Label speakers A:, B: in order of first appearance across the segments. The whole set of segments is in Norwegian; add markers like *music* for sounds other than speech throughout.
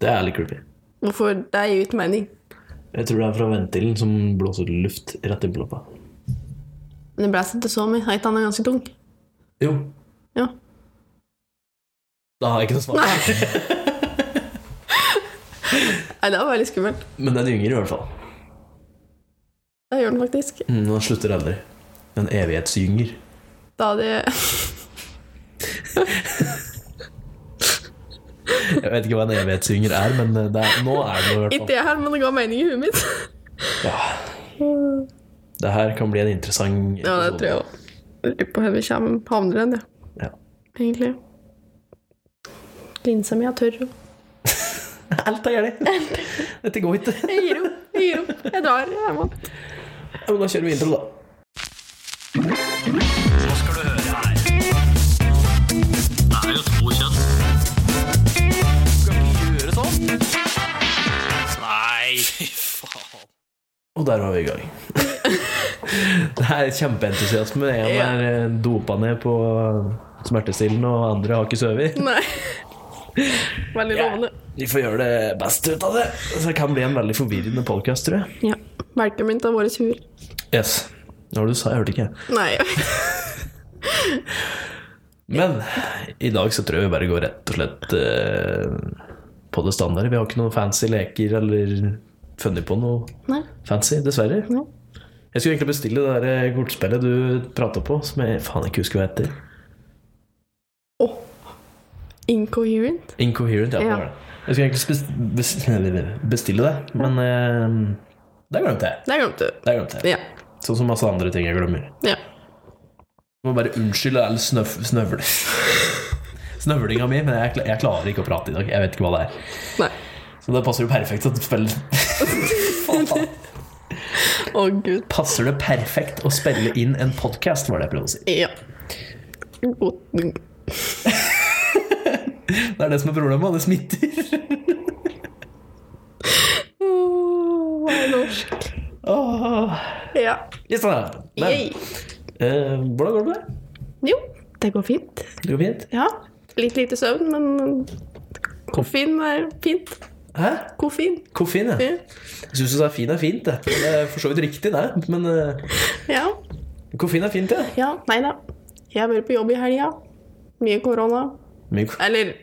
A: Det er litt creepy.
B: Hvorfor? Det gir jo ikke mening.
A: Jeg tror det er fra ventilen som blåser luft rett inn på loppa.
B: Men det blåser ikke så mye. Er ikke han ganske tung?
A: Jo,
B: Ja.
A: da har jeg ikke noe svar.
B: Nei, det var veldig skummelt.
A: Men den gynger i hvert fall.
B: Det gjør den faktisk.
A: Mm, Den slutter aldri. Den evighetsgynger.
B: Da hadde jeg
A: Jeg vet ikke hva en evighetsgynger er, men eh, det er, nå er det noe i hvert fall.
B: Ikke jeg her, men det ga mening i huet mitt. *laughs*
A: Det her kan bli en interessant
B: Ja, det tror jeg òg. Lurer på hvor vi kommer, havner hen, jeg,
A: Ja.
B: egentlig. Linsa mi er tørr. og-
A: Alt er gærent.
B: *laughs*
A: Dette går ikke.
B: Jeg gir opp, jeg gir opp. Jeg drar, Herman.
A: Ja, men Da kjører vi intro, da. Og der var vi i
B: *laughs*
A: gang. Det er kjempeentusiasme. En
B: Ja.
A: er eh, dopa ned på smertestillende, og andre har ikke sovet.
B: Nei. Veldig lovende.
A: Vi får gjøre det beste ut av det. Så det kan bli en veldig forvirrende podcast, tror jeg.
B: Ja. Melken min tar våre huer.
A: Yes. Hva var det du sa? Jeg hørte ikke.
B: Nei.
A: Men i dag så tror jeg vi bare går rett og slett eh, på det standardet. Vi har ikke noen fancy leker eller funnet på noe
B: *laughs* Nei.
A: fancy, dessverre.
B: Nei.
A: Jeg skulle egentlig bestille det der eh, kortspillet du prata på, som jeg faen ikke husker hva heter.
B: Åh. Incoherent?
A: Incoherent, ja. det
B: Ja.
A: var det. Jeg skulle egentlig bes- *laughs* bes- bestille det, men eh, det glemte jeg.
B: Det glemte du.
A: Det glemte jeg.
B: Ja.
A: Sånn som masse andre ting jeg glemmer.
B: ja.
A: Jeg må bare unnskylde all snøf, snøvl... snøvlinga mi, men jeg, kla- jeg klarer ikke å prate i dag. Jeg vet ikke hva det er.
B: Nei.
A: Så det passer jo perfekt at spille
B: Å, gud.
A: Passer det perfekt å spille inn en podkast, var det jeg prøvde å si.
B: Ja. God.
A: Det er det som er problemet, det smitter.
B: Åh, hva er norsk?
A: Åh.
B: Ja.
A: Yes, da. Men,
B: Yay.
A: eh, hvordan går det med deg?
B: Jo, det går fint.
A: Det går fint?
B: Ja. Litt lite søvn, men koffein er fint.
A: Hæ?
B: Koffein.
A: Koffein, ja.
B: Ja.
A: Jeg syns du sa fin er fint, det. Det er for så vidt riktig, det. Men eh,
B: Ja.
A: koffein er fint, ja.
B: ja. Nei da. Jeg har vært på jobb i helga. Mye korona.
A: Mye, ko-
B: Eller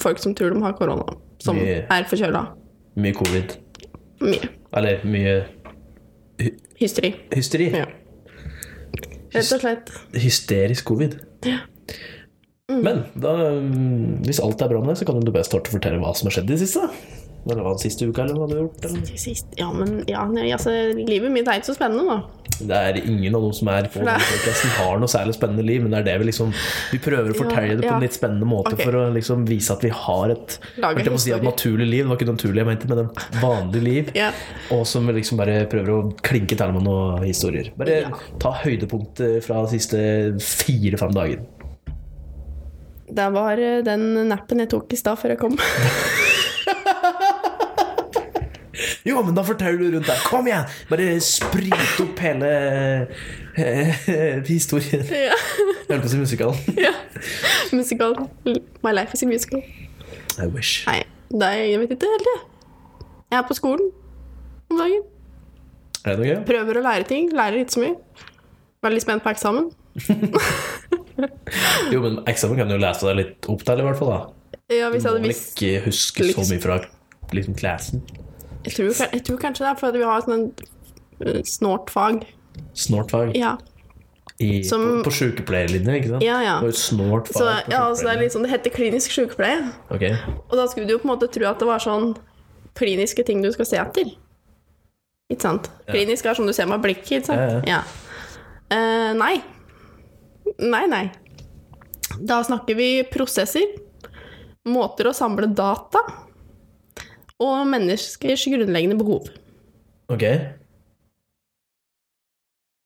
B: folk som tror de har korona. Som
A: Mye.
B: er forkjøla.
A: mye covid.
B: Mye
A: Eller mye
B: hysteri.
A: hysteri.
B: Ja. Rett og slett.
A: Hysterisk covid. Men da, mm, hvis alt er bra med deg, så kan du bare starte å fortelle hva som har skjedd i det siste. da. Eller hva den siste uka, eller hva du har gjort. Eller?
B: Til sist. Ja, men ja, nei, altså, livet mitt er ikke så spennende, da.
A: Det er ingen av dem som er på
B: Nei.
A: denne podcasten har noe særlig spennende liv, men det er det vi liksom Vi prøver å fortelle det på
B: ja.
A: en litt spennende måte
B: Ok.
A: for å liksom vise at vi har et
B: Lager
A: Jeg må si et
B: historie.
A: naturlig liv, det var ikke naturlig jeg mente, men et vanlig liv.
B: Ja.
A: Og som vi liksom bare prøver å klinke til med noen historier. Bare
B: Ja.
A: ta høydepunktet fra de siste fire-fem dager.
B: Det var eh, den nappen jeg tok i stad før jeg kom.
A: Jo, men da forteller du rundt der. Kom igjen! Bare sprit opp hele eh, *laughs* historien.
B: ja. *laughs*
A: Jeg holdt på å si musikalen.
B: ja. Musical. My life is a musical.
A: I wish.
B: Nei, det er, jeg vet ikke helt, jeg. Jeg er på skolen om dagen.
A: Er det noe gøy?
B: Prøver å lære ting. Lærer ikke så mye. Veldig spent på eksamen.
A: Jo, men eksamen kan du jo lese deg litt opp til, i hvert fall. da
B: Ja, hvis
A: Du
B: jeg hadde
A: må vel
B: visst
A: ikke huske så mye fra liksom, klassen.
B: jeg tror, kan- jeg tror kanskje det er fordi vi har sånn eh, snålt fag.
A: Snålt fag
B: Ja.
A: i,
B: Som-
A: på, på sykepleierlinja, ikke sant?
B: Ja, ja.
A: Det var jo et snålt fag
B: Så,
A: på
B: ja, så det, er litt sånn, det heter klinisk sykepleie.
A: sykepleierlinja. Ok.
B: Og da skulle du jo på en måte tro at det var sånn kliniske ting du skal se etter. Ikke sant? Klinisk er sånn du ser med blikket, ikke sant? Ja. Eh, nei. Nei, nei. Da snakker vi prosesser, måter å samle data og menneskers grunnleggende behov.
A: Ok.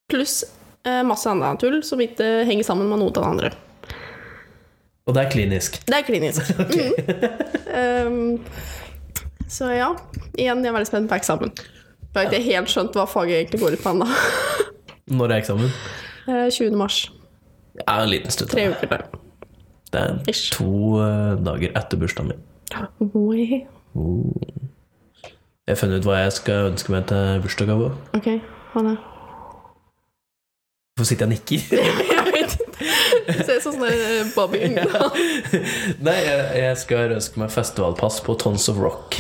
B: Pluss eh, masse annet tull som ikke henger sammen med noe av det andre.
A: Og det er klinisk.
B: Det er
A: *laughs*
B: klinisk. Mhm. Um, så ja, igjen, jeg er veldig spent på eksamen. Jeg har ikke helt skjønt hva faget egentlig går ut på ennå. *laughs*
A: Når er eksamen?
B: Eh, 20. mars.
A: Ja, en liten stund.
B: Tre uker til.
A: Det er
B: Ish.
A: to eh, dager etter bursdagen min.
B: Oi.
A: Jeg har funnet ut hva jeg skal ønske meg til bursdagsgave.
B: Ok, hva da?
A: Hvorfor sitter jeg og nikker?
B: Jeg vet ikke. Du ser sånn sånn der Bobby *laughs* Ungdal.
A: *laughs* Nei, jeg, jeg skal ønske meg festivalpass på Tons of Rock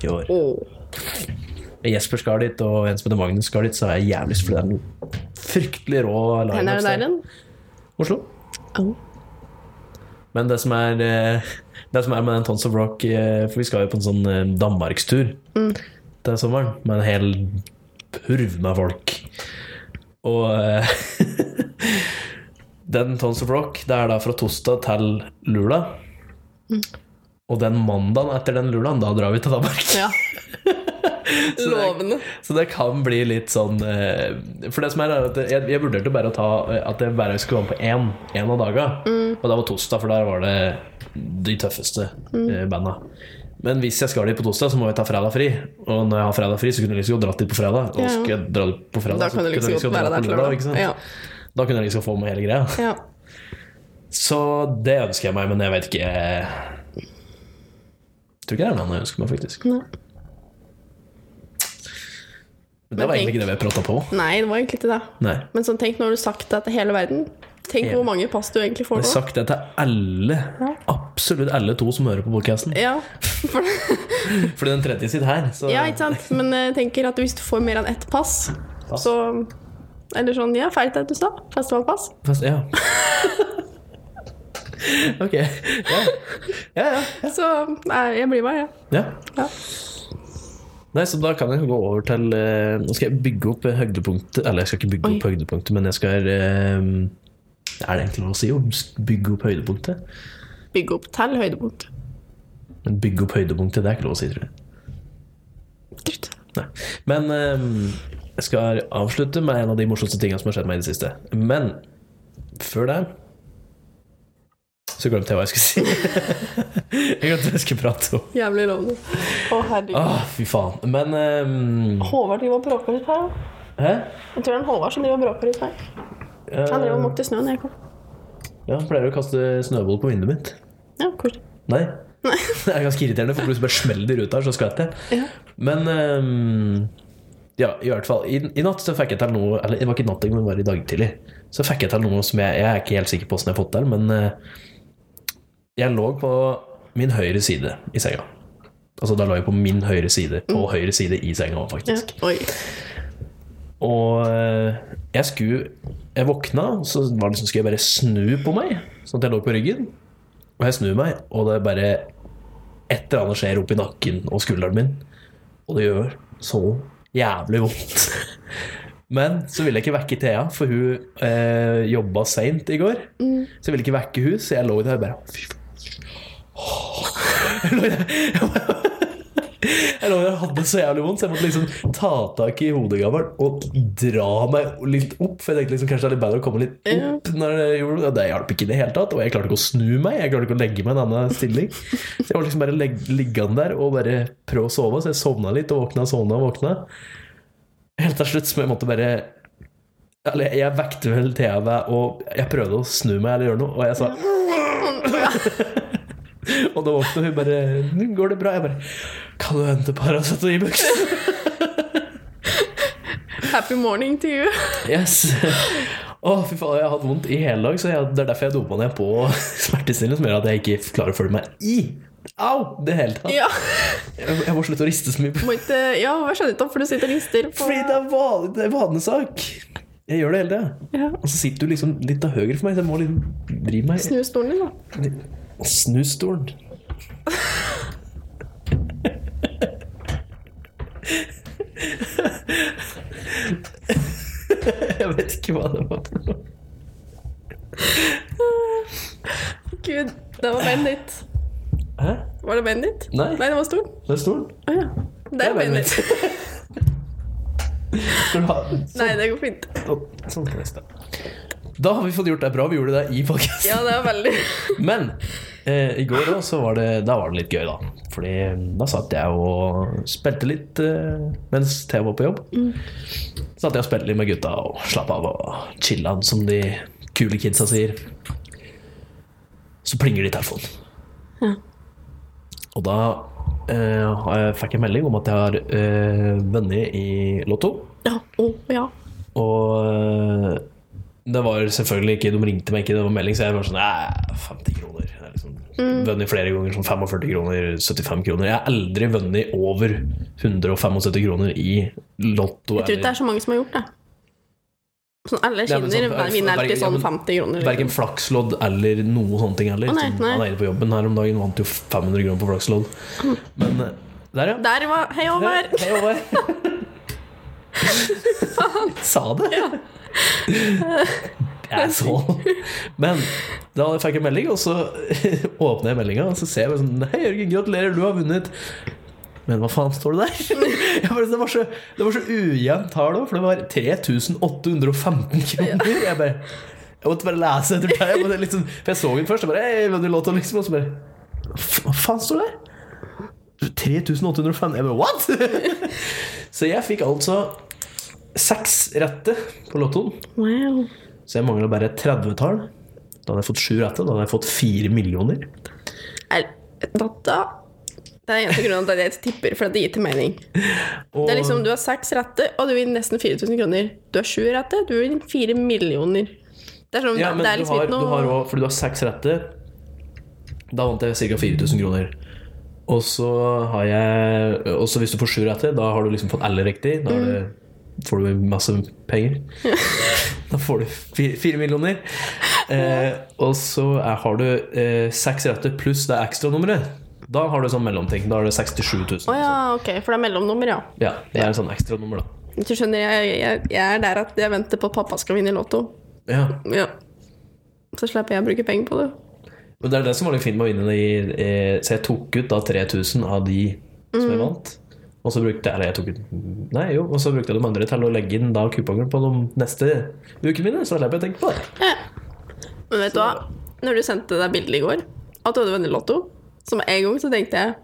A: i år.
B: Åh.
A: Jesper skal dit, og en som heter Magnus skal dit, så er jeg jævlig lyst, for det er noe fryktelig rå
B: Hvor er
A: lineup.
B: det der
A: der.
B: den?
A: Oslo.
B: Åh.
A: Men det som er, eh, *laughs* det som er med den Tons of Rock eh, For vi skal jo på en sånn eh, Danmarkstur til sommeren med en hel purv med folk. Og eh, *laughs* den Tons of Rock, det er da fra torsdag til lula. Og den mandagen etter den lulaen, da drar vi til Danmark.
B: Ja.
A: *laughs* Så det-
B: Lovende.
A: Så det kan bli litt sånn eh, For det som er, er at jeg, jeg vurderte bare å ta eh, at jeg bare skulle være med på én, én av dagene.
B: Mm.
A: Og det var torsdag, for der var det de tøffeste
B: Mm.
A: eh, banda. Men hvis jeg skal dit på torsdag, så må jeg ta fredag fri. Og når jeg har fredag fri, så kunne jeg liksom godt dratt dit på fredag. Og
B: Ja.
A: skulle jeg dra dit på fredag,
B: Da kan du liksom
A: jeg dratt
B: godt være der
A: på
B: til
A: lørdag,
B: lørdag.
A: ikke sant?
B: Ja.
A: Da kunne jeg liksom få med hele greia.
B: ja.
A: Så det ønsker jeg meg, men jeg vet ikke eh, Tror ikke det er noe annet jeg ønsker meg, faktisk.
B: Nei.
A: Men det var egentlig ikke det vi prata på.
B: Nei, det var egentlig ikke det.
A: Nei.
B: Men sånn, tenk når du har sagt det til hele verden. Tenk
A: Hele.
B: hvor mange pass du egentlig får
A: Jeg har
B: nå.
A: sagt det til alle, absolutt alle to som hører på podkasten.
B: Ja, *laughs* for,
A: Fordi den tredje sitter her. Så
B: ja, ikke sant? Men eh, jeg tenker at hvis du får mer enn ett pass, så Eller sånn, ja, ferdig til du sa. Festivalpass.
A: Fast, ja. *laughs* ok. Ja. Ja, ja, ja.
B: Så nei, jeg blir med, jeg.
A: ja.
B: Ja.
A: Nei, så da kan jeg gå over til eh, Nå skal jeg bygge opp eh, høydepunktet Eller jeg skal ikke bygge opp høydepunktet, men jeg skal eh, Er det egentlig lov å si? jo? Bygge opp høydepunktet?
B: Bygge opp til høydepunkt.
A: Men bygge opp høydepunktet, det er ikke lov å si, tror jeg.
B: Dritt.
A: Nei. Men ehm, jeg skal avslutte med en av de morsomste tingene som har skjedd meg i det siste. Men før det så glemte jeg hva jeg skulle si. *laughs* jeg glemte hva jeg skulle prate om.
B: Jævlig lovende. Å, herregud.
A: Ah, fy faen. Men ehm,
B: Håvard driver og bråker litt her.
A: Hæ?
B: Jeg tror det er en Håvard som driver og bråker litt her.
A: Eh,
B: Han driver og måkte snø når jeg kom.
A: ja, han pleier å kaste snøball på vinduet mitt.
B: Ja, koselig.
A: Nei. *laughs* det er ganske irriterende, for plutselig bare smeller det i ruta, så skvetter jeg.
B: Ja.
A: Men ehm, ja, i hvert fall. I, I natt så fikk jeg til noe Eller det var ikke i natt, men det var i dag tidlig. Så fikk jeg til noe som jeg, jeg er ikke helt sikker på hvordan jeg har fått til, men eh, jeg lå på min høyre side i senga. Altså da lå jeg på min høyre side, på høyre side i senga òg,
B: Ja.
A: faktisk.
B: Oi.
A: Og eh, jeg skulle Jeg våkna, og så var det liksom, skulle jeg bare snu på meg. Sånn at jeg lå på ryggen. Og jeg snur meg, og det er bare et eller annet skjer oppi nakken og skulderen min. Og det gjør så jævlig vondt. *laughs* Men så ville jeg ikke vekke Thea, for hun eh, jobba seint i går. Så jeg ville ikke vekke hun, så jeg lå der og bare Fy faen. Jeg lå der- Jeg lå der og hadde så jævlig vondt, så jeg måtte liksom ta tak i hodegammelen og dra meg litt opp. For jeg tenkte liksom kanskje det er litt bedre å komme litt opp. Når jeg gjorde, det. og det hjalp ikke i det hele tatt. Og jeg klarte ikke å snu meg. Jeg klarte ikke å legge meg i en annen stilling. Så jeg var liksom bare legg- liggende der og bare prøve å sove. Så jeg sovna litt og våkna, sovna og våkna. Helt til slutt så jeg måtte bare Eller jeg vekte vel Thea ved Og jeg prøvde å snu meg eller gjøre noe, og jeg sa *laughs* Og da våkna hun bare «Nå 'Går det bra?' Jeg bare 'Kan du hente Paracet og Ibux?'
B: Happy morning to *laughs* you.
A: Yes. Å, fy faen, jeg har hatt vondt i hele dag, så jeg, det er derfor jeg dopa ned på *laughs* smertestillende, som gjør at jeg ikke klarer å følge meg i Au! Det hele tatt.
B: Ja.
A: Jeg, jeg må slutte å riste så mye. på-
B: Må ikke Ja, jeg skjønner ikke hvorfor du sitter og rister på
A: Fordi det er, van, det er vanesak. Jeg gjør det hele tida.
B: ja.
A: Og så sitter du liksom litt til høyre for meg, så jeg må liksom drive meg
B: Snu stolen din, da.
A: Snustolen. Jeg vet ikke hva det var. for noe.
B: Gud, det var beinet ditt.
A: Hæ?
B: Var det beinet ditt?
A: Nei.
B: Nei, det var stolen.
A: Det er stolen.
B: Å ja. Det er beinet ditt.
A: Skal du ha sånn,
B: *laughs* Nei, det går fint.
A: sånn kan jeg stå. Da har vi fått gjort det bra. Vi gjorde det i podkasten.
B: Ja, det er veldig
A: Men eh, i går også var det, da var det litt gøy, da. Fordi eh, da satt jeg og spilte litt eh, mens Thea var på jobb. Satt jeg og spilte litt med gutta og slapp av og chilla'n, som de kule kidsa sier. Så plinger det i telefonen. Og da eh, har jeg fikk en melding om at jeg har eh, vunnet i Lotto.
B: Ja. Å, ja.
A: Og eh, det var selvfølgelig ikke De ringte meg ikke, det var melding, så jeg var sånn "Æ, 50 kroner. Jeg har liksom
B: Mm.
A: vunnet flere ganger, sånn 45 kroner, 75 kroner. Jeg har aldri vunnet over 175 kroner i Lotto.
B: Jeg tror ikke det er så mange som har gjort det. Sånn, alle
A: Ja, men
B: skinner
A: sånn-
B: vinner
A: ja,
B: alltid sånn
A: men-
B: 50 kroner. liksom.
A: Verken flakslodd eller noe sånne ting heller.
B: Å, nei,
A: Som
B: nei.
A: Han eide på jobben her om dagen, vant jo 500 kroner på flakslodd.
B: Mm.
A: Men eh, der, ja.
B: Der var Hei, Håvard!
A: Hei, Håvard. *laughs* Sa det? Asshole. Men da fikk jeg melding, og så *laughs* åpner jeg meldinga, og så ser jeg bare sånn Hei, Jørgen, gratulerer, du har vunnet. Men hva faen står det der? *laughs* Jeg bare, det var så, det var så ujevnt tall òg, for det var 3815 kroner. Jeg bare jeg måtte bare lese etter det. Jeg måtte litt sånn- for jeg så den først, og bare Hei, vunnet låta, liksom. Og så bare "F- Hva faen står det der? 3805 Jeg bare, what? *laughs* så jeg fikk altså seks rette på lottoen.
B: Wow.
A: Så jeg mangla bare et 30-tall. Da hadde jeg fått sju rette. Da hadde jeg fått fire millioner.
B: Er, data Det er eneste grunnen til at jeg tipper, for det gir ikke mening.
A: Og
B: Det er liksom, Du har seks retter, og du vinner nesten 4000 kroner. Du har sju retter, du vinner fire millioner. Det er sånn,
A: ja, men
B: det er liksom
A: du har,
B: ikke
A: du har
B: noe
A: også, Fordi du har seks rette. Da vant jeg ca. 4000 kroner. Og så har jeg Og så hvis du får sju rette, da har du liksom fått alle riktig. Da har
B: Mm.
A: du, får du masse penger. *laughs* Da får du fi- fire millioner. Eh, og så er, har du eh, seks retter pluss det ekstranummeret. Da har du sånn mellomting. Da er det 67 000.
B: Å ja, ok, for det er mellomnummer, ja.
A: Ja, det er en sånn ekstranummer, da.
B: Du skjønner, jeg, jeg, jeg er der at jeg venter på at pappa skal vinne i Lotto.
A: Ja.
B: Ja. Så slipper jeg å bruke penger på det.
A: Og det er det som var litt fint med å vinne det i eh, Så jeg tok ut da 3000 av de som jeg vant. Og så brukte jeg eller jeg tok ut Nei, jo. Og så brukte jeg de andre til å legge inn da kupongen på de neste ukene mine. Så slipper jeg å tenke på det.
B: Men vet du hva? Når du sendte deg bildet i går, at du hadde vunnet Lotto, så med en gang så tenkte jeg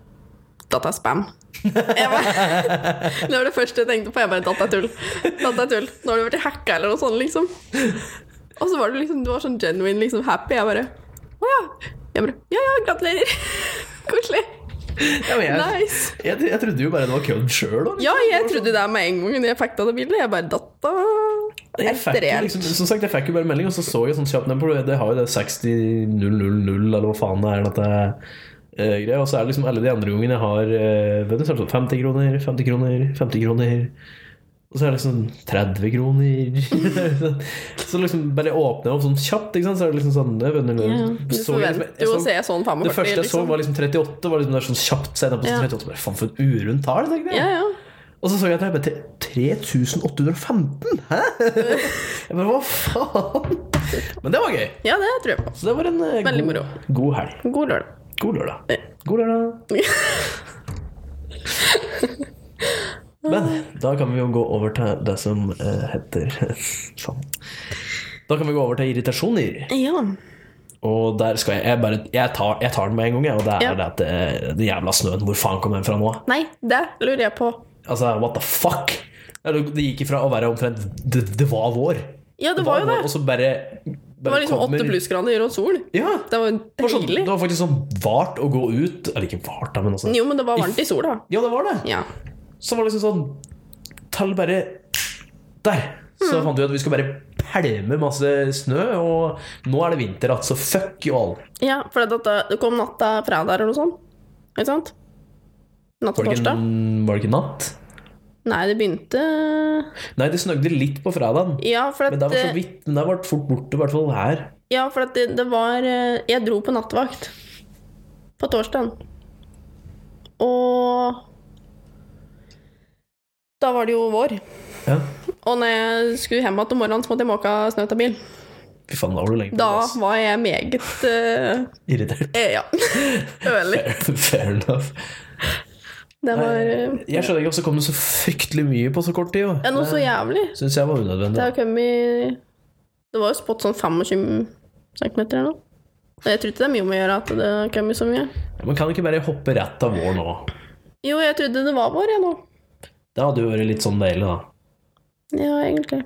B: Data er spam. Jeg bare, *laughs* det var det første jeg tenkte på. Jeg bare Data er tull. Data er tull. Nå har du blitt hacka eller noe sånt, liksom. Og så var du liksom Du var sånn genuine liksom happy. Jeg bare Å ja. Jeg bare Ja ja, gratulerer. *laughs* Koselig.
A: Ja, men jeg,
B: Nice.
A: jeg, jeg trodde jo bare det var kødd sjøl, da. liksom.
B: Ja, jeg trodde det med en gang når jeg fikk det bildet. Jeg bare Data
A: Jeg
B: er
A: fikk, jo
B: reelt.
A: liksom, som sagt, jeg fikk jo bare melding, og så så jeg sånn kjapt ned på det. Det har jo det 60-000, eller hva faen det er. Dette, eh, greia. og så er det liksom alle de andre gangene jeg har eh, vunnet, så er det sånn 50 kroner, 50 kroner, 50 kroner. Og så er det liksom 30 kroner. *laughs* så liksom bare åpner jeg opp sånn kjapt, ikke sant? så er det liksom sånn jeg vunnet,
B: Du
A: så jeg liksom- jeg
B: forventer jo å
A: så-
B: se sånn 45,
A: Det første jeg så, var liksom 38. Var liksom der sånn kjapt sett jeg på
B: Ja.
A: 38 bare, Faen, for et urundt tall! tenkte jeg.
B: Ja, ja.
A: Og så så jeg at jeg bare "Tre- 3815! Hæ?! Jeg bare, Hva faen? Men det var gøy.
B: Ja, det tror jeg på.
A: Så det var en eh,
B: Veldig
A: god,
B: moro.
A: god helg.
B: God lørdag.
A: God lørdag. God
B: *laughs*
A: lørdag. Men da kan vi jo gå over til det som eh, heter Faen. Da kan vi gå over til irritasjoner.
B: Ja.
A: Og der skal jeg Jeg, bare, jeg, tar, jeg tar den med en gang, jeg. Og det er
B: Ja.
A: det at eh, den jævla snøen, hvor faen kom den fra nå?
B: Nei, det lurer jeg på.
A: Altså, what the fuck? Eller, Det gikk ifra å være omtrent Det, det var vår.
B: Ja, det var jo det.
A: Og så bare,
B: Det var liksom åtte plussgrader og sol.
A: Ja.
B: Det var
A: Det var, sånn,
B: deilig.
A: det var faktisk sånn vart å gå ut Eller ikke vart, da, men altså
B: Jo, men det var varmt i sola.
A: Ja, det var det.
B: Ja.
A: Så var det liksom sånn Tall bare Der!
B: Mm.
A: Så fant vi ut at vi skulle bare pælme masse snø, og nå er det vinter igjen, så fuck you all.
B: ja for det, at det kom natta fredag eller noe sånt. sånn. Ikke sant? Natt
A: Var det
B: til
A: ikke,
B: torsdag?
A: var det ikke natt?
B: Nei, det begynte
A: Nei, det snøgde litt på fredagen.
B: Ja, for
A: Men det
B: at, eh,
A: var så vidt. Men det ble fort borte, i hvert fall her.
B: ja, for at det, det var eh, Jeg dro på nattevakt på torsdagen. Og da var det jo vår.
A: Ja.
B: Og når jeg skulle hjem igjen om morgenen, så måtte jeg måke snø til bil.
A: Fy faen, da var du lenge på
B: Da
A: plass.
B: var jeg meget eh,
A: Irritert. *laughs*
B: eh, Ja. Ørlig.
A: Fair enough.
B: Det var eh,
A: Jeg skjønner ikke hvordan kom det så fryktelig mye på så kort tid.
B: ja, noe så jævlig.
A: Syns jeg var
B: Det
A: unødvendig.
B: har kommet Det var jo spådd sånn 25 cm eller noe. Og jeg tror ikke det er mye om å gjøre at det har kommet så mye.
A: Man kan ikke bare hoppe rett av vår nå.
B: Jo, jeg trodde det var vår, jeg nå.
A: Det hadde jo vært litt sånn deilig, da.
B: Ja, egentlig.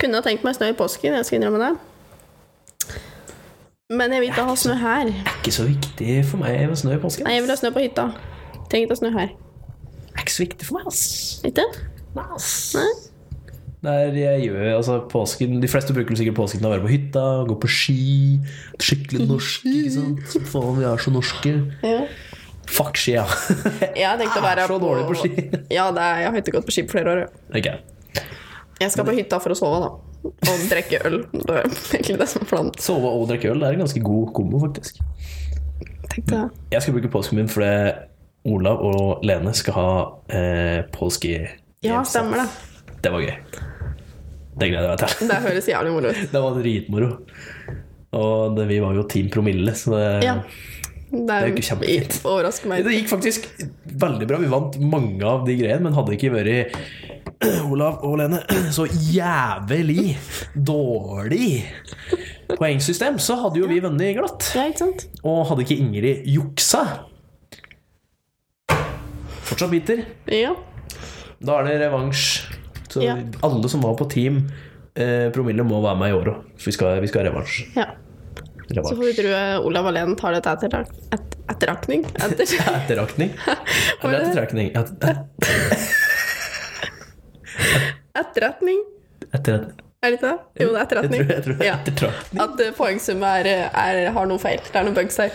B: Kunne ha tenkt meg snø i påsken, jeg skal innrømme det. Men jeg vil ikke ha snø her.
A: Det er ikke så viktig for meg med snø i påsken.
B: Nei, jeg vil ha snø på hytta. Trenger ikke ha snø her.
A: Det er ikke så viktig for meg, ass.
B: Ikke?
A: Nei, ass.
B: Nei?
A: Der jeg gjør, altså påsken De fleste bruker sikkert påsken til å være på hytta, gå på ski. Skikkelig norsk, ikke sant. Faen, vi er så norske.
B: Ja. Ah,
A: Fuck skia.
B: Jeg har tenkt å være
A: så dårlig på
B: *laughs*
A: ski.
B: Ja, det er, jeg har ikke gått på ski på flere år. ja.
A: *laughs* Ok.
B: Jeg skal på hytta for å sove, da. Og drikke øl. Det er egentlig det som er planen.
A: Sove og drikke øl det er en ganske god kombo, faktisk.
B: Tenkte jeg.
A: Jeg skal bruke påsken min fordi Olav og Lene skal ha eh, påske...
B: Ja, stemmer det.
A: Det var gøy. Det gleder jeg meg til.
B: *laughs* Det høres jævlig moro ut.
A: Det var dritmoro. Og det, vi var jo Team Promille, så det,
B: Ja. Det
A: jo ikke kjempefint.
B: Overrasker meg.
A: det gikk faktisk veldig bra. Vi vant mange av de greiene, men hadde ikke vært *clears throat* Olav og Lene så jævlig dårlig poengsystem, så hadde jo vi vunnet glatt.
B: Ja, ikke sant?
A: Og hadde ikke Ingrid juksa Fortsatt biter.
B: Ja.
A: Da er det revansj. Så
B: Ja.
A: alle som var på Team eh, Promille, må være med i år òg. Vi skal vi skal ha revansj.
B: ja. Så
A: revansj.
B: får vi tro eh, Olav Alene tar dette etter et,
A: *laughs*
B: etterrakning. Etter.
A: Etterrakning?
B: *laughs* Var
A: Eller
B: det-
A: ettertrekning? Et, et,
B: Etterretning,
A: etter-
B: er det ikke det? Jo, det er
A: jeg
B: etterretning.
A: tror, jeg tror det er
B: Ja.
A: ettertrakning.
B: At eh, poengsummet er, er, har noe feil. Det er noen bugs her.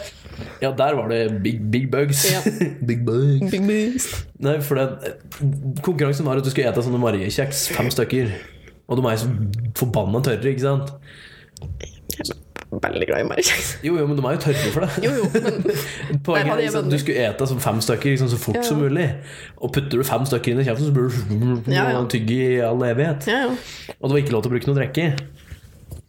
A: Ja, der var det big, big bugs.
B: Ja.
A: *laughs* big bugs.
B: Big bugs.
A: Nei, for det, konkurransen var at du skulle ete sånne mariekjeks, fem stykker. Og de er jo så forbanna tørre, ikke sant?
B: Jeg er veldig glad i Marikjeks.
A: Jo, jo, men de er jo tørre for det.
B: Jo, jo, men Der
A: *laughs* Poenget
B: hadde
A: er
B: jeg
A: liksom at du
B: vunnet.
A: skulle ete som fem stykker liksom, så fort
B: Ja, ja.
A: som mulig. Og putter du fem stykker inn i kjeften, så blir du *laughs*
B: Ja, ja.
A: tygge i all evighet.
B: *laughs* ja, ja.
A: Og det var ikke lov til å bruke noe drikke.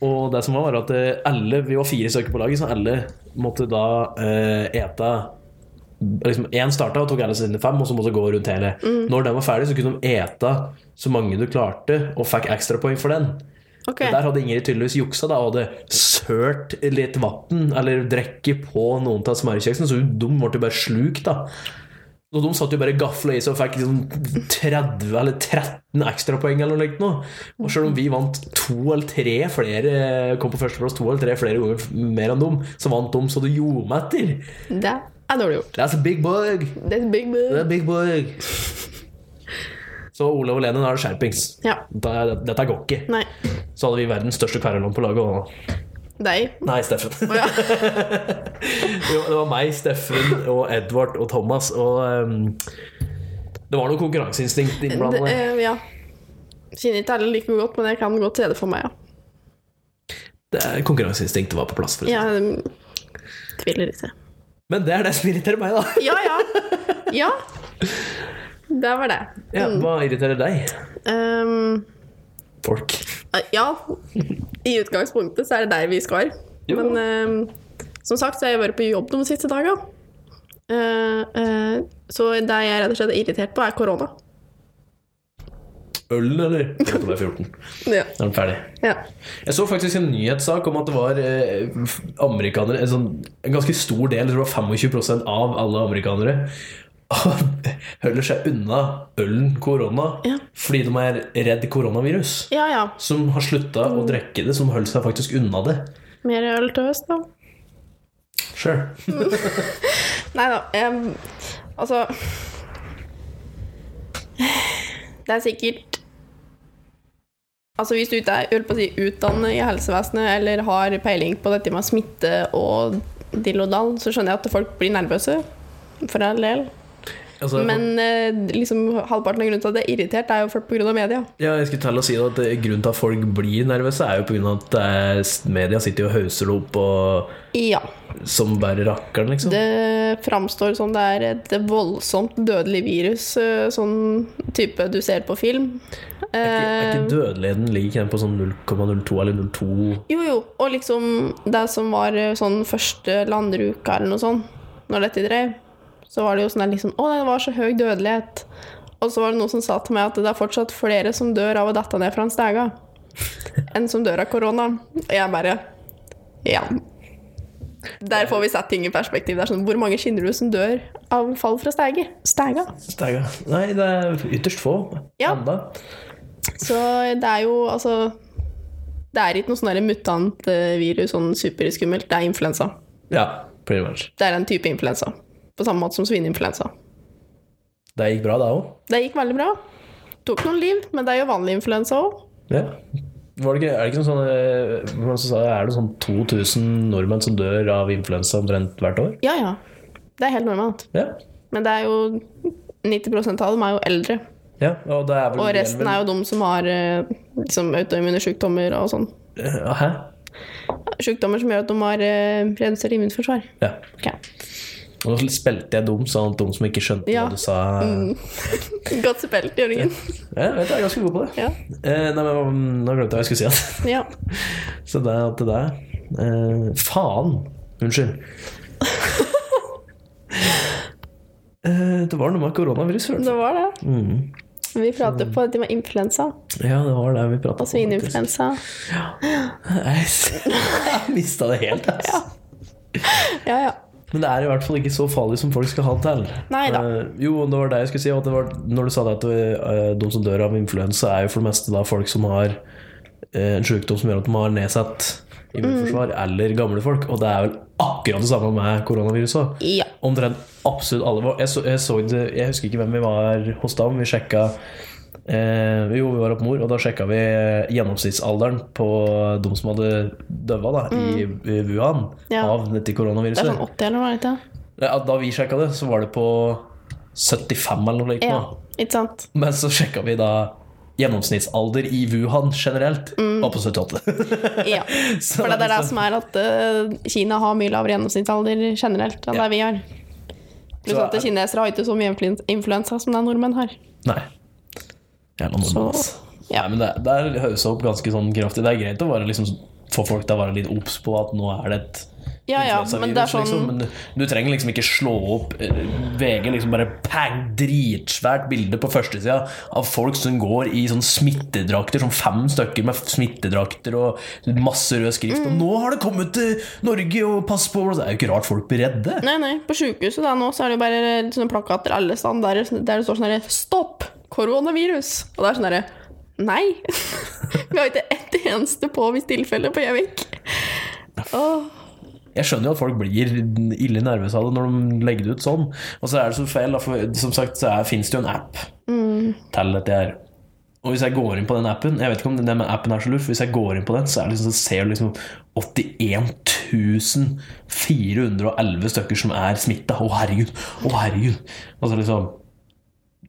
A: Og det som var, var at eh, alle, vi var fire stykker på laget, så alle måtte da eh, ete liksom Én starta og tok alle sine fem, og så måtte gå rundt hele.
B: Mm.
A: Når den var ferdig, så kunne de ete så mange du klarte, og fikk ekstrapoeng for den.
B: Ok.
A: Men Der hadde Ingrid tydeligvis juksa da, og hadde sølt litt vann eller drikke på noen av smørkjeksene, så de ble jo bare slukt, da. Og de satt jo bare gafla i seg og fikk liksom 30 eller 13 ekstrapoeng eller noe likt nå. Og selv om vi vant to eller tre flere, kom på førsteplass to eller tre flere ganger mer enn dem, så vant de så det gjorde meg etter.
B: Det er dårlig gjort.
A: That's a big bug!
B: Det er big bug.
A: Det er big bug! Så Olav og Lene, nå er det skjerpings.
B: Ja.
A: Da- Dette går ikke.
B: Nei.
A: Så hadde vi verdens største kverulon på laget. Og
B: Deg.
A: Nei, Steffen.
B: Å
A: *laughs*
B: ja.
A: Jo, det var meg, Steffen og Edvard og Thomas. Og ehm, det var noe konkurranseinstinkt
B: Det,
A: innblandet.
B: eh, ja. Kjenner ikke alle like godt, men jeg kan godt se det for meg, ja.
A: Det- Konkurranseinstinktet var på plass. For å si.
B: Ja, um, tviler ikke.
A: Men det er det som irriterer
B: *laughs*
A: meg, da.
B: Ja, ja.
A: *laughs*
B: Ja. Det var det.
A: Ja, hva irriterer deg?
B: Um,
A: Folk.
B: eh, ja, i utgangspunktet så er det deg vi skal.
A: Jo.
B: Men um, som sagt så har jeg vært på jobb de siste dagene. Eh, eh, så det jeg er rett og slett er irritert på, er korona.
A: Øl, eller? Jeg tror det er 14. Da
B: Ja.
A: er den ferdig.
B: ja.
A: Jeg så faktisk en nyhetssak om at det var eh, amerikanere En, sånn, en ganske stor del, jeg tror det var 25 av alle amerikanere, *laughs* holder seg unna ølen korona
B: Ja.
A: fordi de er redd koronavirus.
B: ja ja.
A: Som har slutta å drikke det, som holder seg faktisk unna det.
B: Mer øl til høst, da.
A: Sure.
B: Nei da. em, altså Det er sikkert Altså Hvis du ikke er jeg holdt på å si, utdannet i helsevesenet eller har peiling på dette med smitte og dill og dall, så skjønner jeg at folk blir nervøse. For all del.
A: Altså,
B: Men eh, liksom, halvparten av grunnen til at jeg er irritert, er jo folk pga. media.
A: ja, jeg skulle til å si at eh, Grunnen til at folk blir nervøse, er jo pga. at det er- media sitter jo og hauser det opp og,
B: Ja.
A: som bare rakkeren, liksom.
B: Det framstår som det er et voldsomt dødelig virus, eh, sånn type du ser på film. Eh,
A: er, ikke, er ikke dødeligheten lik den på sånn 0,02 eller 02
B: Jo, jo. Og liksom det som var eh, sånn første landruka eller noe sånt, når dette drev, så var det jo sånn der liksom Å nei, det var så høy dødelighet. Og så var det noen som sa til meg at det er fortsatt flere som dør av å dette ned fra en stege, enn som dør av korona. Og jeg bare Ja. Der får vi satt ting i perspektiv. Det er sånn, Hvor mange kjenner du som dør av fall fra steger? Stega?
A: Stega. Nei, det er ytterst få.
B: Ja.
A: Enda.
B: Så det er jo altså Det er ikke noe sånn der mutant eh, virus, sånn superskummelt. Det er influensa.
A: Ja, pretty much.
B: Det er en type influensa. På samme måte som svineinfluensa.
A: Det gikk bra, det òg.
B: Det gikk veldig bra. Tok noen liv, men det er jo vanlig influensa òg.
A: Ja. Var det ikke, er det ikke noe sånn eh, hvordan så sa jeg, Er det sånn 2000 nordmenn som dør av influensa omtrent hvert år?
B: Ja, ja. Det er helt normalt.
A: Ja.
B: Men det er jo 90 av dem er jo eldre.
A: ja og det er vel
B: Og resten er jo de som har eh, liksom, autoimmune sykdommer og sånn.
A: jo Eh, Hæ?
B: Sykdommer som gjør at de har eh, redusert immunforsvar.
A: Ja.
B: Ok.
A: Og nå spilte jeg dum, sånn at de som ikke skjønte
B: Ja.
A: hva du
B: Mm.
A: sa
B: Godt spilt, Jørgen.
A: Ja, jeg vet, jeg er ganske god på det.
B: Ja.
A: Eh, nei, men mm, Nå glemte jeg hva jeg skulle si igjen.
B: ja.
A: *laughs* Så det er til deg. Eh, faen! Unnskyld. *laughs* eh, det var noe med koronavirus før.
B: Det var det. Mm. Vi prater på det med influensa
A: Ja, det var det vi prata *laughs*
B: og svineinfluensa.
A: Jeg mista det
B: *laughs*
A: helt, altså. ass.
B: Ja, ja.
A: Men det er i hvert fall ikke så farlig som folk skal ha det til.
B: Neida.
A: Eh, jo, det var det jeg skulle si. At det var, når du sa det at eh, de som dør av influensa, er jo for det meste da folk som har eh, en sykdom som gjør at de har nedsatt immunforsvar,
B: Mm.
A: eller gamle folk. Og det er vel akkurat det samme med koronaviruset.
B: Ja.
A: Omtrent absolutt alle. var- Jeg, så, jeg, så det, jeg husker ikke hvem vi var hos da, men vi sjekka Eh, jo, vi var oppe mor, og da sjekka vi eh, gjennomsnittsalderen på de som hadde døva da, i, i Wuhan
B: Mm. Ja.
A: av dette
B: Det
A: koronaviruset.
B: er sånn 80 eller noe, er det ikke?
A: Nei, at Da vi sjekka det, så var det på 75 eller noe likt.
B: Ja,
A: nå.
B: ikke sant?
A: Men så sjekka vi da gjennomsnittsalder i Wuhan generelt,
B: Mm.
A: var på 78.
B: Ja.
A: Så
B: For det er det
A: liksom-
B: som er at eh, Kina har mye lavere gjennomsnittsalder generelt enn det vi har. Pluss
A: Så-
B: at kinesere har ikke så mye influen- influensa som det nordmenn har.
A: *laughs* Nei. Jævla nordmenn,
B: Så-
A: ass.
B: ja.
A: altså. Nei, men det, det er- høres opp ganske sånn kraftig. Det er greit å være liksom få folk til å være litt obs på at nå er det et
B: Ja, ja, men det er
A: influensavirus, liksom.
B: sånn
A: Men du, du trenger liksom ikke slå opp eh, VG liksom bare pang, dritsvært bilde på førstesida av folk som går i sånn smittedrakter, sånn fem stykker med smittedrakter og masse rød skrift.
B: Mm.
A: Og nå har det kommet til Norge, og pass på Det er jo ikke rart folk blir redde.
B: Nei, nei, på sykehuset da nå så er det jo bare eh, sånne plakater alle steder der, der det står sånn herre 'Stopp! Koronavirus!' Og det er sånn herre Nei! *laughs* Vi har ikke ett eneste påvist tilfelle på Gjøvik. Åh,
A: Jeg skjønner jo at folk blir ille nervøse av det når de legger det ut sånn. Og så er det så feil, da, for som sagt så er, finnes det jo en app til dette her. Og hvis jeg går inn på den appen Jeg vet ikke om den med appen er så lur, for hvis jeg går inn på den, så, er det liksom, så ser du liksom 81 411 stykker som er smitta. Å, herregud! Å, herregud! Og så liksom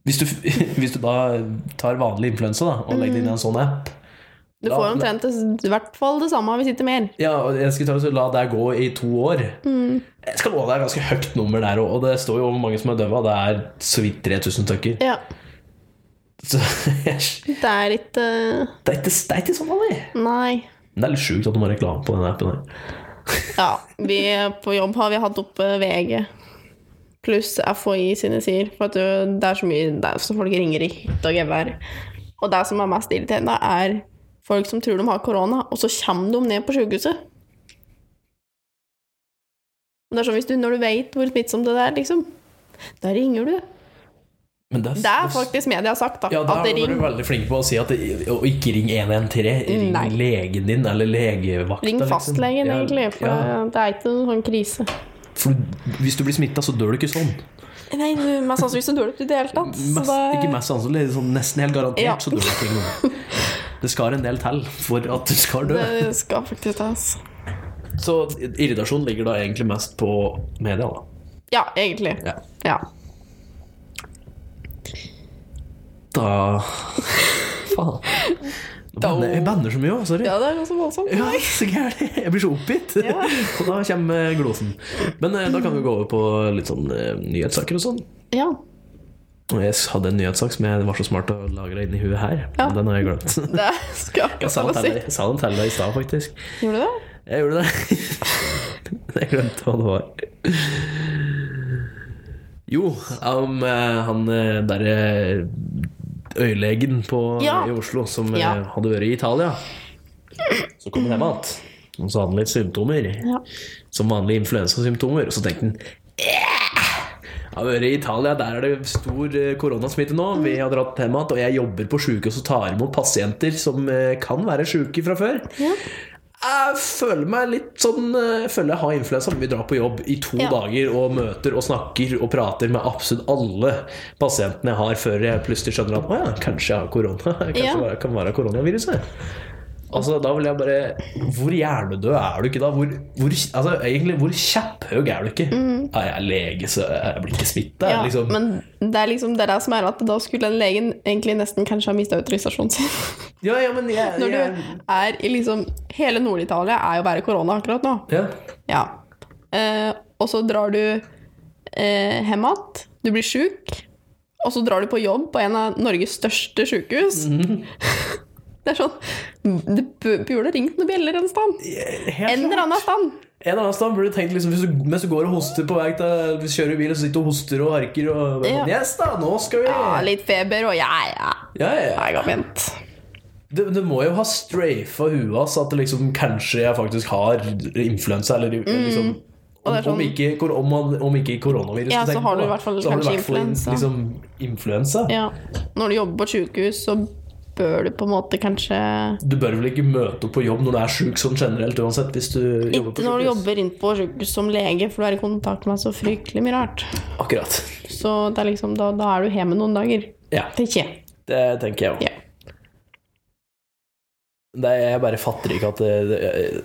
A: hvis du, *laughs* hvis du da tar vanlig influensa da, og legger det inn i en sånn app
B: du får omtrent det- i hvert fall det samme hvis ikke mer.
A: ja, og jeg skal ta og så la deg gå i to år.
B: Mm.
A: Jeg skal love deg ganske høyt nummer der òg, og det står jo hvor mange som er døva. Det er så vidt 3000 stykker.
B: Ja.
A: Så *laughs* det
B: Det er ikke
A: er ikke, det er ikke sånn vanlig.
B: Nei.
A: Men Det er litt sjukt at du må ha reklame på den appen. her.
B: Ja, vi på jobb har vi hatt oppe VG pluss FHI sine sider. For at det er så mye det er, så folk ringer i hytt og gevær. Og det som er mest irriterende, er folk som tror de har korona, og så kommer de ned på sykehuset. Det er sånn hvis du, Når du vet hvor smittsomt det er, liksom, da ringer du.
A: Men det,
B: Det er faktisk media har sagt, da.
A: Ja, da
B: at
A: er
B: det
A: du
B: ring, Mm,
A: veldig flink på å si at det, og ikke ring 113. Ring
B: Nei.
A: legen din eller legevakta.
B: ring
A: liksom.
B: fastlegen,
A: Ja,
B: egentlig. For
A: ja.
B: det er ikke noen sånn krise.
A: For du- hvis du blir smitta, så dør du ikke sånn.
B: Nei, du, mest sannsynlig så dør du ikke i det hele tatt. så
A: Mest,
B: det-
A: ikke mest sannsynlig, sånn nesten helt garantert,
B: Ja.
A: så dør du ikke
B: *laughs*
A: noe. Det skal en del til for at du skal dø.
B: Det skal faktisk tas.
A: Så irritasjon ligger da egentlig mest på media, da.
B: Ja, egentlig.
A: Ja.
B: Ja.
A: Da
B: *laughs*
A: Faen. Jeg banner, jeg banner så mye òg, sorry.
B: det er ganske voldsomt.
A: eh, Ja, så gærent. Jeg blir så oppgitt.
B: Ja.
A: *laughs* Og da kommer glosen. Men eh, da kan vi gå over på litt sånn eh, nyhetssaker og sånn.
B: Ja.
A: Og jeg hadde en nyhetssak som jeg var så smart å lagre inni huet her.
B: Ja.
A: Men Den har jeg glemt.
B: *laughs* Det skal jeg
A: Jeg sa
B: ikke
A: den
B: si.
A: til deg- jeg sa den til deg i stad, faktisk.
B: Gjorde du det?
A: Jeg gjorde det. Jeg glemte hva det var. Jo, om eh, han eh, derre øyelegen på- eh,
B: Ja.
A: i Oslo som
B: Ja.
A: eh, hadde vært i Italia. Så kom han hjem igjen, og så hadde han litt symptomer.
B: Ja.
A: Som vanlige influensasymptomer. Og så tenkte han «Eh, Jeg har vært i Italia, der er det stor eh, koronasmitte nå. Vi
B: Mm.
A: har dratt hjem igjen, og jeg jobber på sjukehus og tar imot pasienter som eh, kan være sjuke fra før.
B: Ja.
A: Jeg føler meg litt sånn eh, Føler jeg har influensa, men vi drar på jobb i to
B: Ja.
A: dager og møter og snakker og prater med absolutt alle pasientene jeg har, før jeg plutselig skjønner at å ja, kanskje jeg har korona. *laughs* Kanskje
B: Ja.
A: det kan være koronaviruset. Altså, da vil jeg bare Hvor hjernedød er du ikke da? Hvor, hvor, altså, egentlig, hvor kjepphøg er du ikke? Ja, jeg er lege, så jeg blir ikke smitta.
B: Mhm. Ja,
A: liksom.
B: Men det er liksom det der som er at da skulle den legen egentlig nesten kanskje ha mista autorisasjonen sin. *laughs*
A: ja, ja, men jeg,
B: Når
A: jeg,
B: du er i liksom Hele Nord-Italia er jo bare korona akkurat nå.
A: ja.
B: Ja. Eh, og så drar du eh, hjem igjen, du blir sjuk, og så drar du på jobb på en av Norges største sjukehus. *laughs* det er sånn Det bu- burde ringt noen bjeller en sted.
A: Helt
B: En eller annen sted.
A: En annen sted burde du tenkt liksom, hvis du, Mens du går og hoster på vei til Hvis du kjører bil og sitter og hoster og harker og
B: Ja.
A: Yes da, nå skal vi
B: Ja, litt feber og ja, ja.
A: ja, ja.
B: Jeg kan vente.
A: Du, du må jo ha strafa huet hans at det liksom, kanskje jeg faktisk har influensa, eller liksom
B: Mm. Og
A: om,
B: det er
A: om,
B: sånn-
A: ikke, kor- om, man- om ikke koronavirus
B: Ja,
A: du
B: så
A: tenker
B: har
A: på,
B: du i
A: da.
B: hvert fall
A: Så har du i
B: kanskje
A: hvert fall
B: influensa.
A: Liksom, influensa.
B: Ja. Når du jobber på et sykehus, så bør du på en måte kanskje
A: Du bør vel ikke møte opp på jobb når du er sjuk sånn generelt uansett, hvis du jobber
B: Ikke
A: på
B: når du
A: sykehus.
B: jobber inn på sykehus som lege, for du er i kontakt med så fryktelig mye rart.
A: Akkurat. *laughs*
B: Så det er liksom, da, da er du hjemme noen dager.
A: Ja,
B: Tenker jeg.
A: det tenker jeg òg.
B: Ja.
A: Jeg bare fatter ikke at det, det, jeg,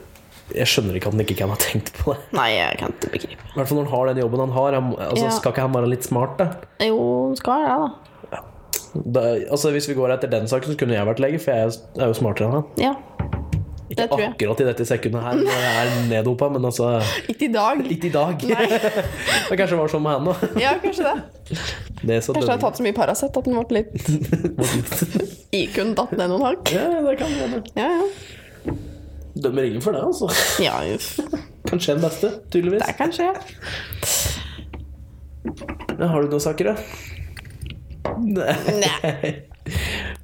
A: jeg skjønner ikke at han ikke kan ha tenkt på det.
B: Nei, jeg kan ikke begripe.
A: I hvert fall når han har den jobben han har. Han, altså,
B: Ja.
A: Skal ikke han være litt smart, da?
B: Jo, skal jeg det,
A: da altså, hvis vi går etter den saken, så kunne jeg vært lege, for jeg er jo smartere enn han.
B: da. Ja.
A: Ikke
B: Det tror jeg.
A: akkurat i dette sekundet her, når jeg er neddopa, men altså
B: Ikke i dag.
A: Litt i dag. *laughs* det kanskje var sånn med han òg.
B: Ja, kanskje det.
A: Det er så
B: Kanskje jeg har
A: dødelig.
B: tatt så mye Paracet at den ble litt IQ-en datt ned noen hakk.
A: *laughs* Ja, det kan hende.
B: Ja, ja.
A: Dømmer ingen for det, altså.
B: Ja, uff.
A: Kanskje den beste, tydeligvis.
B: Det kan skje.
A: Ja, Har du noen saker, da? Nei.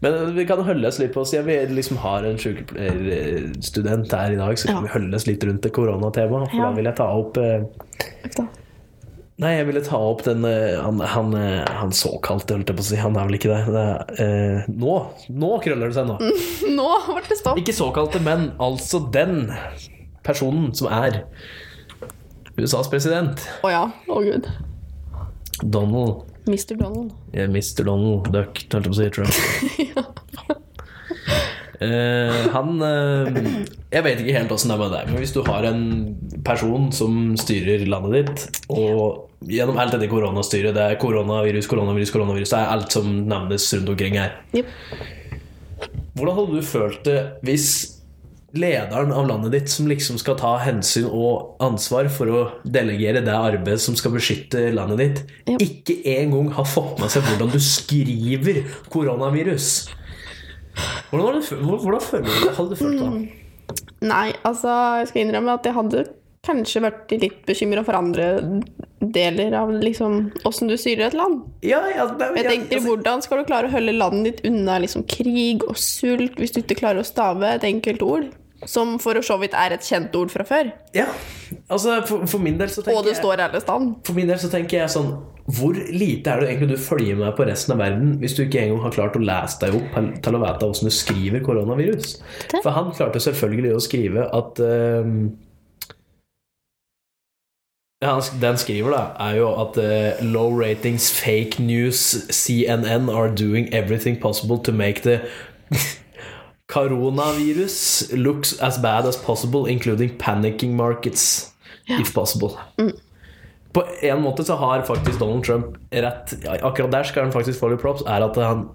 A: Men vi kan holde oss litt på Siden vi liksom har en sykepleierstudent her i dag, så kan
B: Ja.
A: vi holde oss litt rundt det koronatemaet. For
B: Ja.
A: da vil jeg ta opp eh,
B: Uff da.
A: Nei, jeg ville ta opp den eh, Han, han, eh, han såkalte, holdt jeg på å si. Han er vel ikke det. det er, eh, nå nå krøller det seg nå.
B: Nå ble det stopp.
A: Ikke såkalte, men altså den personen som er USAs president.
B: Å ja. Å gud.
A: Donald
B: Mr. Donald.
A: eh, Mr. Donald Duck, holdt jeg på å si. Trump. Eh, han eh, Jeg vet ikke helt åssen det er med deg, men hvis du har en person som styrer landet ditt, og gjennom alt dette koronastyret, det er koronavirus, koronavirus, koronavirus, det er alt som nevnes rundt omkring her.
B: Jep.
A: Hvordan hadde du følt det hvis lederen av landet ditt, som liksom skal ta hensyn og ansvar for å delegere det arbeidet som skal beskytte landet ditt,
B: Ja.
A: ikke engang har fått med seg hvordan du skriver koronavirus? Hvordan, hadde du, fø- hvor- hvordan føler du det? Hadde du følt da?
B: Mm. Nei, altså, jeg skal innrømme at jeg hadde kanskje vært litt bekymra for andre deler av liksom åssen du styrer et land.
A: Ja, ja, det,
B: Jeg
A: ja,
B: tenker,
A: altså,
B: Hvordan skal du klare å holde landet ditt unna liksom, krig og sult hvis du ikke klarer å stave et enkelt ord? Som for så vidt er et kjent ord fra før.
A: ja. altså for, for min del så
B: Og
A: tenker
B: det
A: jeg
B: står alle stand.
A: For min del så tenker jeg sånn Hvor lite er det egentlig du følger med på resten av verden hvis du ikke engang har klart å lese deg opp til å vite hvordan du skriver koronavirus?
B: Det.
A: For han klarte selvfølgelig å skrive at ehm, ja, han sk- det han skriver, da, er jo at eh, low ratings, fake news, CNN are doing everything possible to make the *laughs* coronavirus looks as bad as possible, including panicking markets, if possible.
B: Mm.
A: På en måte så har faktisk Donald Trump rett. Akkurat der skal han faktisk få litt props, er at han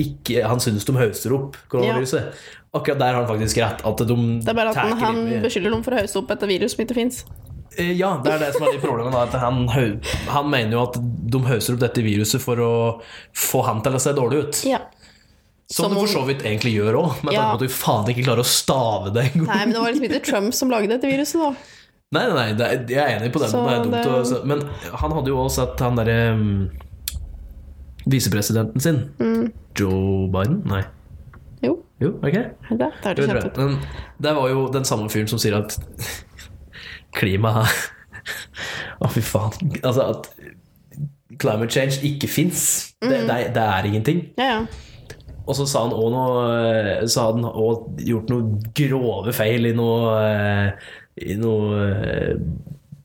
A: ikke, han synes de hauser opp koronaviruset. Akkurat der har han faktisk rett. At de
B: Det er bare at han, han
A: i-
B: beskylder dem for å hausse opp etter virus som ikke fins.
A: Eh, Ja, det er det som er litt problemet. Da, at han, hau- han mener jo at de hauser opp dette viruset for å få han til å se dårlig ut.
B: Ja.
A: Som,
B: som
A: de
B: om-
A: for så vidt egentlig gjør òg, med
B: Ja.
A: tanke på at du faen ikke klarer å stave det engang.
B: Nei, men det var liksom ikke Trump som lagde dette viruset, da.
A: Nei, nei, nei, det er, jeg er enig på den.
B: Så
A: det er dumt
B: det-
A: å, se- men han hadde jo også sett han derre mm, visepresidenten sin.
B: Mm.
A: Joe Biden? Nei.
B: Jo,
A: Jo, ok.
B: er det det? Det
A: Jo,
B: hørtes
A: tror
B: kjent
A: jeg.
B: ut.
A: Men det var jo den samme fyren som sier at *laughs* klima Å, fy faen. Altså at climate change ikke fins. Det, det, er- det er ingenting.
B: Ja, ja.
A: Og så sa han også noe eh, Så hadde han også gjort noen grove feil i noe eh, I noe eh,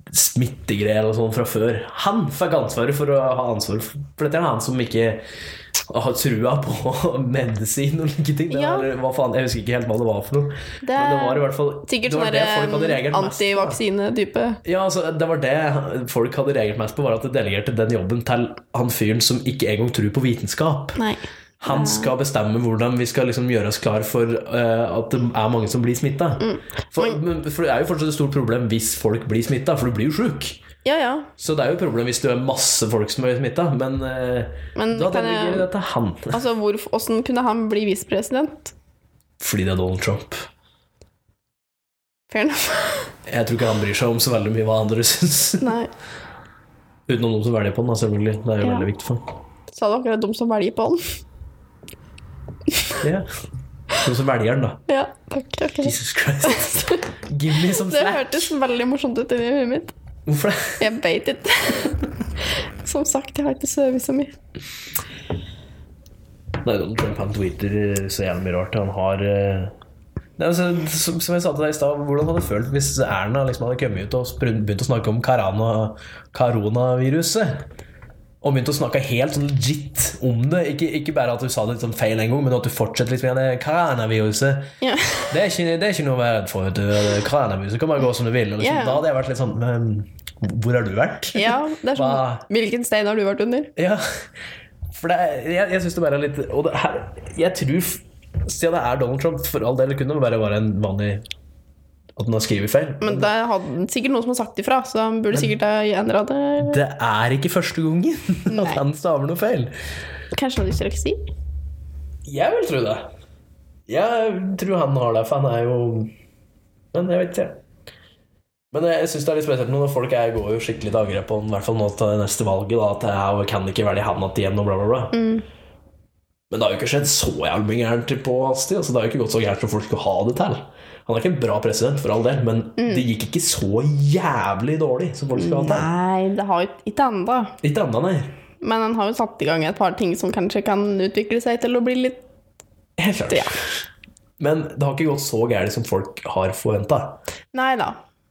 A: smittegreier og sånn fra før. Han fikk ansvaret for å ha ansvaret for for dette. er han som ikke har trua på *laughs* medisin og like ting. Det
B: Ja.
A: var, hva faen, jeg husker ikke helt hva det var for noe.
B: Det
A: Men det var i hvert fall
B: Sikkert
A: det var
B: sånn
A: det folk hadde
B: der, eh,
A: reagert mest på, da.
B: antivaksine-type.
A: Ja, altså, det var det folk hadde reagert mest på, var at det delegerte den jobben til han fyren som ikke engang tror på vitenskap.
B: Nei.
A: Han skal bestemme hvordan vi skal liksom gjøre oss klar for eh, at det er mange som blir smitta.
B: Mm.
A: For, men- for det er jo fortsatt et stort problem hvis folk blir smitta, for du blir jo sjuk.
B: Ja, ja.
A: Så det er jo et problem hvis du er masse folk som er smitta, men, eh,
B: Men
A: da
B: kan jeg-
A: delegerer det til han.
B: Altså, hvorf- Hvordan kunne han bli visepresident?
A: Fordi det er Donald Trump.
B: Fair enough. *laughs*
A: Jeg tror ikke han bryr seg om så veldig mye hva andre *laughs* syns.
B: Nei.
A: Utenom noen som velger på den, da, selvfølgelig. Det er jo
B: Ja.
A: veldig viktig for ham.
B: Sa du akkurat de som velger på han?
A: Ja. Noen som velger den, da.
B: *laughs* Ja, takk. takk.
A: Jesus Christ. Give me some
B: Det
A: slack.
B: hørtes veldig morsomt ut inni huet mitt.
A: Hvorfor det?
B: Jeg beit ikke. *laughs* Som sagt, jeg har ikke sovet så mye.
A: Nei, Donald Trump han tweeter eh, så jævlig mye rart. Han har eh, Nei, altså, som, som jeg sa til deg i stad, hvordan hadde du følt hvis Erna liksom hadde kommet ut og sprun- begynt å snakke om karana, koronaviruset? Og begynt å snakke helt sånn legit om det. Ikke, ikke bare at du sa det litt sånn feil en gang, men at du fortsetter litt med det koronaviruset.
B: Ja.
A: Det er ikke, det er ikke noe å være redd for. vet du. Det Koronaviruset kan bare gå som det vil. Og liksom,
B: Ja.
A: Da hadde jeg vært litt sånn Men hvor har du vært?
B: ja, det er sånn
A: Hva?
B: Hvilken stein har du vært under?
A: Ja, for det er, jeg, jeg syns det bare er litt Og det her, jeg tror f- Siden det er Donald Trump, for all del, det kunne det bare være en vanlig At han har skrevet feil.
B: Men det hadde sikkert noen som har sagt ifra, så han burde sikkert ha endra det.
A: Det er ikke første gangen *laughs*
B: Nei.
A: at han staver noe feil.
B: Kanskje han har dysleksi?
A: Jeg vil tro det. Jeg tror han har det, for han er jo Men jeg vet ikke. Men jeg syns det er litt spesielt nå når folk er, går jo skikkelig til angrep på han, i hvert fall nå til det neste valget, da, at jeg kan ikke velge han at igjen, og bla, bla, bla. Men det har jo ikke skjedd så jævlig mye gærent på hans tid. Altså, det har jo ikke gått så gærent som folk skulle ha det til. Han er ikke en bra president, for all del, men det gikk ikke så jævlig dårlig som folk skulle ha det til.
B: Nei, det har jo ikke ennå.
A: Ikke ennå, nei.
B: Men han har jo satt i gang et par ting som kanskje kan utvikle seg til å bli litt
A: Helt klart.
B: Ja.
A: Men det har ikke gått så gærent som folk har forventa.
B: Nei da.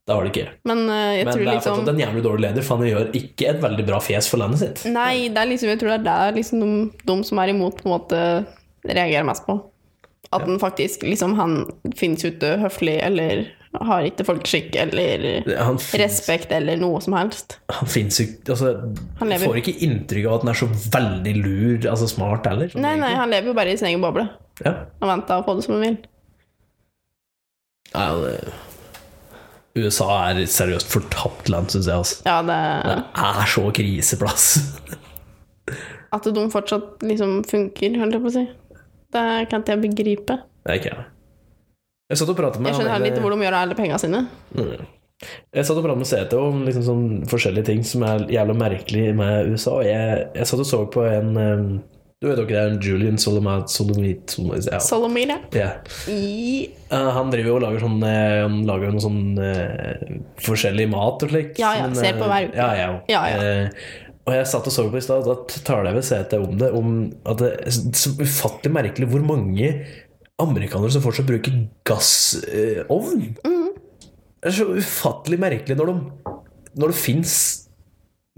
A: Det har det ikke.
B: Men eh, jeg
A: Men det
B: tror
A: er
B: liksom
A: fortsatt en jævlig dårlig leder, for han gjør ikke et veldig bra fjes for landet sitt.
B: Nei, det er liksom, jeg tror det er der liksom de, de som er imot, på en måte reagerer mest på. At den faktisk liksom Han finnes ute høflig, eller har ikke folkeskikk, eller
A: Han, fin-
B: respekt, eller noe som helst.
A: han finnes jo altså,
B: Han lever.
A: Får ikke inntrykk av at han er så veldig lur, altså smart heller. sånn
B: Nei, nei, han lever jo bare i sin egen boble
A: egentlig. Ja.
B: og venter på det som han vil.
A: Nei, ja, det... USA er et seriøst fortapt land, syns jeg. Altså.
B: Ja, det,
A: Det er så kriseplass.
B: at de fortsatt liksom funker, holdt jeg på å si. Det kan ikke jeg begripe.
A: Det er ikke jeg. Jeg satt og pratet med
B: Jeg skjønner
A: han
B: heller ikke
A: ene-
B: hvor de gjør av alle pengene sine.
A: Mm. Jeg satt og pratet med CT om liksom sånn forskjellige ting som er jævla merkelig med USA. og Jeg, jeg satt og så på en eh, Du vet jo ikke det er en Julian Solomit, Solomit, Solomit ja.
B: Solomir, ja.
A: Ja.
B: I
A: Eh, Han driver jo og lager sånn eh, Han lager noe sånn eh, forskjellig mat og slikt.
B: Ja, ja,
A: men,
B: ser på
A: eh,
B: hver uke.
A: Ja, jeg òg.
B: Ja, ja.
A: Eh, og jeg satt og så på i stad, og da taler jeg med CT om det, om at det er så- så ufattelig merkelig hvor mange amerikanere som fortsatt bruker gassovn.
B: Mm.
A: Det er så ufattelig merkelig når de Når det fins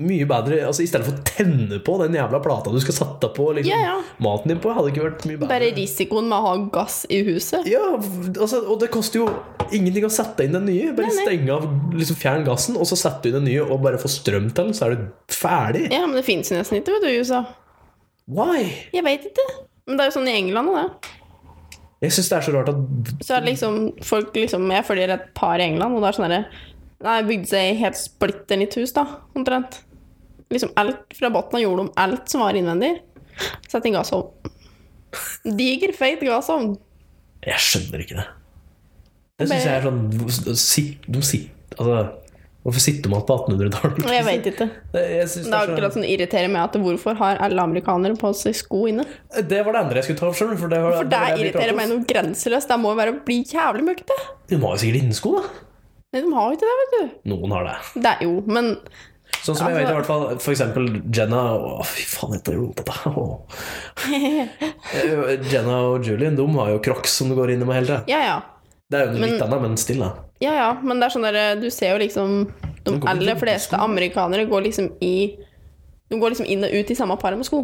A: mye bedre Altså I stedet for å tenne på den jævla plata du skal sette på liksom,
B: Ja, ja.
A: maten din på, hadde ikke vært mye bedre.
B: Bare risikoen med å ha gass i huset.
A: Ja, altså, og det koster jo ingenting å sette inn den nye. Bare
B: Nei, nei.
A: stenge av, liksom fjern gassen, og så sette inn den nye og bare få strøm til den, så er du ferdig.
B: Ja, men det finnes jo nesten ikke, vet du, i USA.
A: Why?
B: Jeg vet ikke. Men det er jo sånn i England og det.
A: Jeg syns det er så rart at
B: Så er det liksom folk liksom Jeg følger et par i England, og det er sånn derre Nei, bygde seg helt splitter nytt hus, da, omtrent. Liksom alt fra bunnen av jorda om alt som var innvendig. Sett en gassovn. altså, Diger, feit gassovn.
A: Jeg skjønner ikke det. Det syns jeg er sånn hvor- sitt- De sitter Altså, hvorfor sitter man på 1800-tallet?
B: Og jeg vet ikke.
A: Det, *laughs* jeg synes
B: Det er
A: det, er
B: akkurat sånn det irriterer meg at hvorfor har alle amerikanere på seg sko inne?
A: så, det var det andre jeg skulle ta opp sjøl. For det, var,
B: For
A: det
B: det
A: var det jeg ble
B: irriterer
A: pratet
B: meg
A: om.
B: noe grenseløst. Det må jo være å bli jævlig møkkete.
A: De har jo sikkert innesko, da.
B: Nei, de har jo ikke det, vet du.
A: Noen har det.
B: Det er jo, men
A: Sånn som jeg vet i
B: Altså-
A: hvert fall For eksempel Jenna og- Å, fy faen, dette er jo rotete.
B: *laughs*
A: Åh. Eh, Jenna og Julian de har jo crocs som du går inn i med hele tida.
B: Ja, ja.
A: Det er jo litt annet, men still, da.
B: Ja, ja, men det er sånn der, du ser jo liksom De
A: går ikke
B: aller
A: i
B: fleste amerikanere går liksom i De går liksom inn og ut i samme par med sko.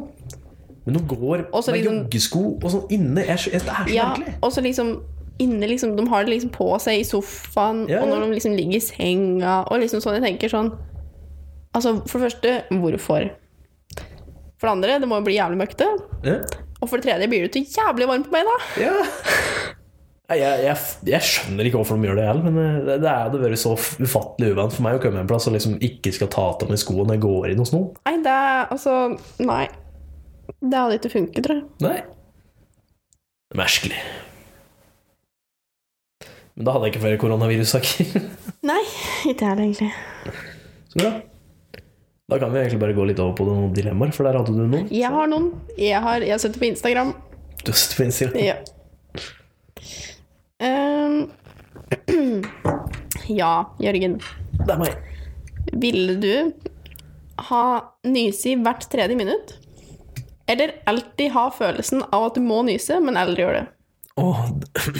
A: Men hun går
B: Og så
A: med
B: liksom-
A: joggesko og sånn inne. Jeg, skj- jeg, det er så
B: Ja,
A: merkelig.
B: og så liksom inne liksom De har det liksom på seg i sofaen,
A: Ja, ja.
B: og når de liksom ligger i senga, og liksom sånn Jeg tenker sånn Altså, for det første, hvorfor? For det andre, det må jo bli jævlig møkkete.
A: Ja.
B: Og for det tredje blir det til jævlig varmt på meg, da.
A: Ja. Nei, Jeg, jeg, jeg skjønner ikke hvorfor de gjør det heller, men eh, det, det er det vært så f- ufattelig uvant for meg å komme en plass og liksom ikke skal ta av meg skoene når jeg går inn hos noen.
B: Nei, det er Altså, nei. Det hadde ikke funket, tror jeg.
A: Nei. Merkelig. Men da hadde jeg ikke flere koronavirussaker. *laughs*
B: Nei, ikke jeg heller, egentlig.
A: Så bra. Da kan vi egentlig bare gå litt over på noen dilemmaer, for der hadde du noen.
B: Jeg har noen. Jeg har, jeg har sett det på Instagram.
A: Du sitter på Instagram.
B: Ja. Ehm, *clears throat* ja, Jørgen.
A: Det er meg.
B: Ville du ha nyse i hvert tredje minutt? Eller alltid ha følelsen av at du må nyse, men aldri gjør det?
A: Åh.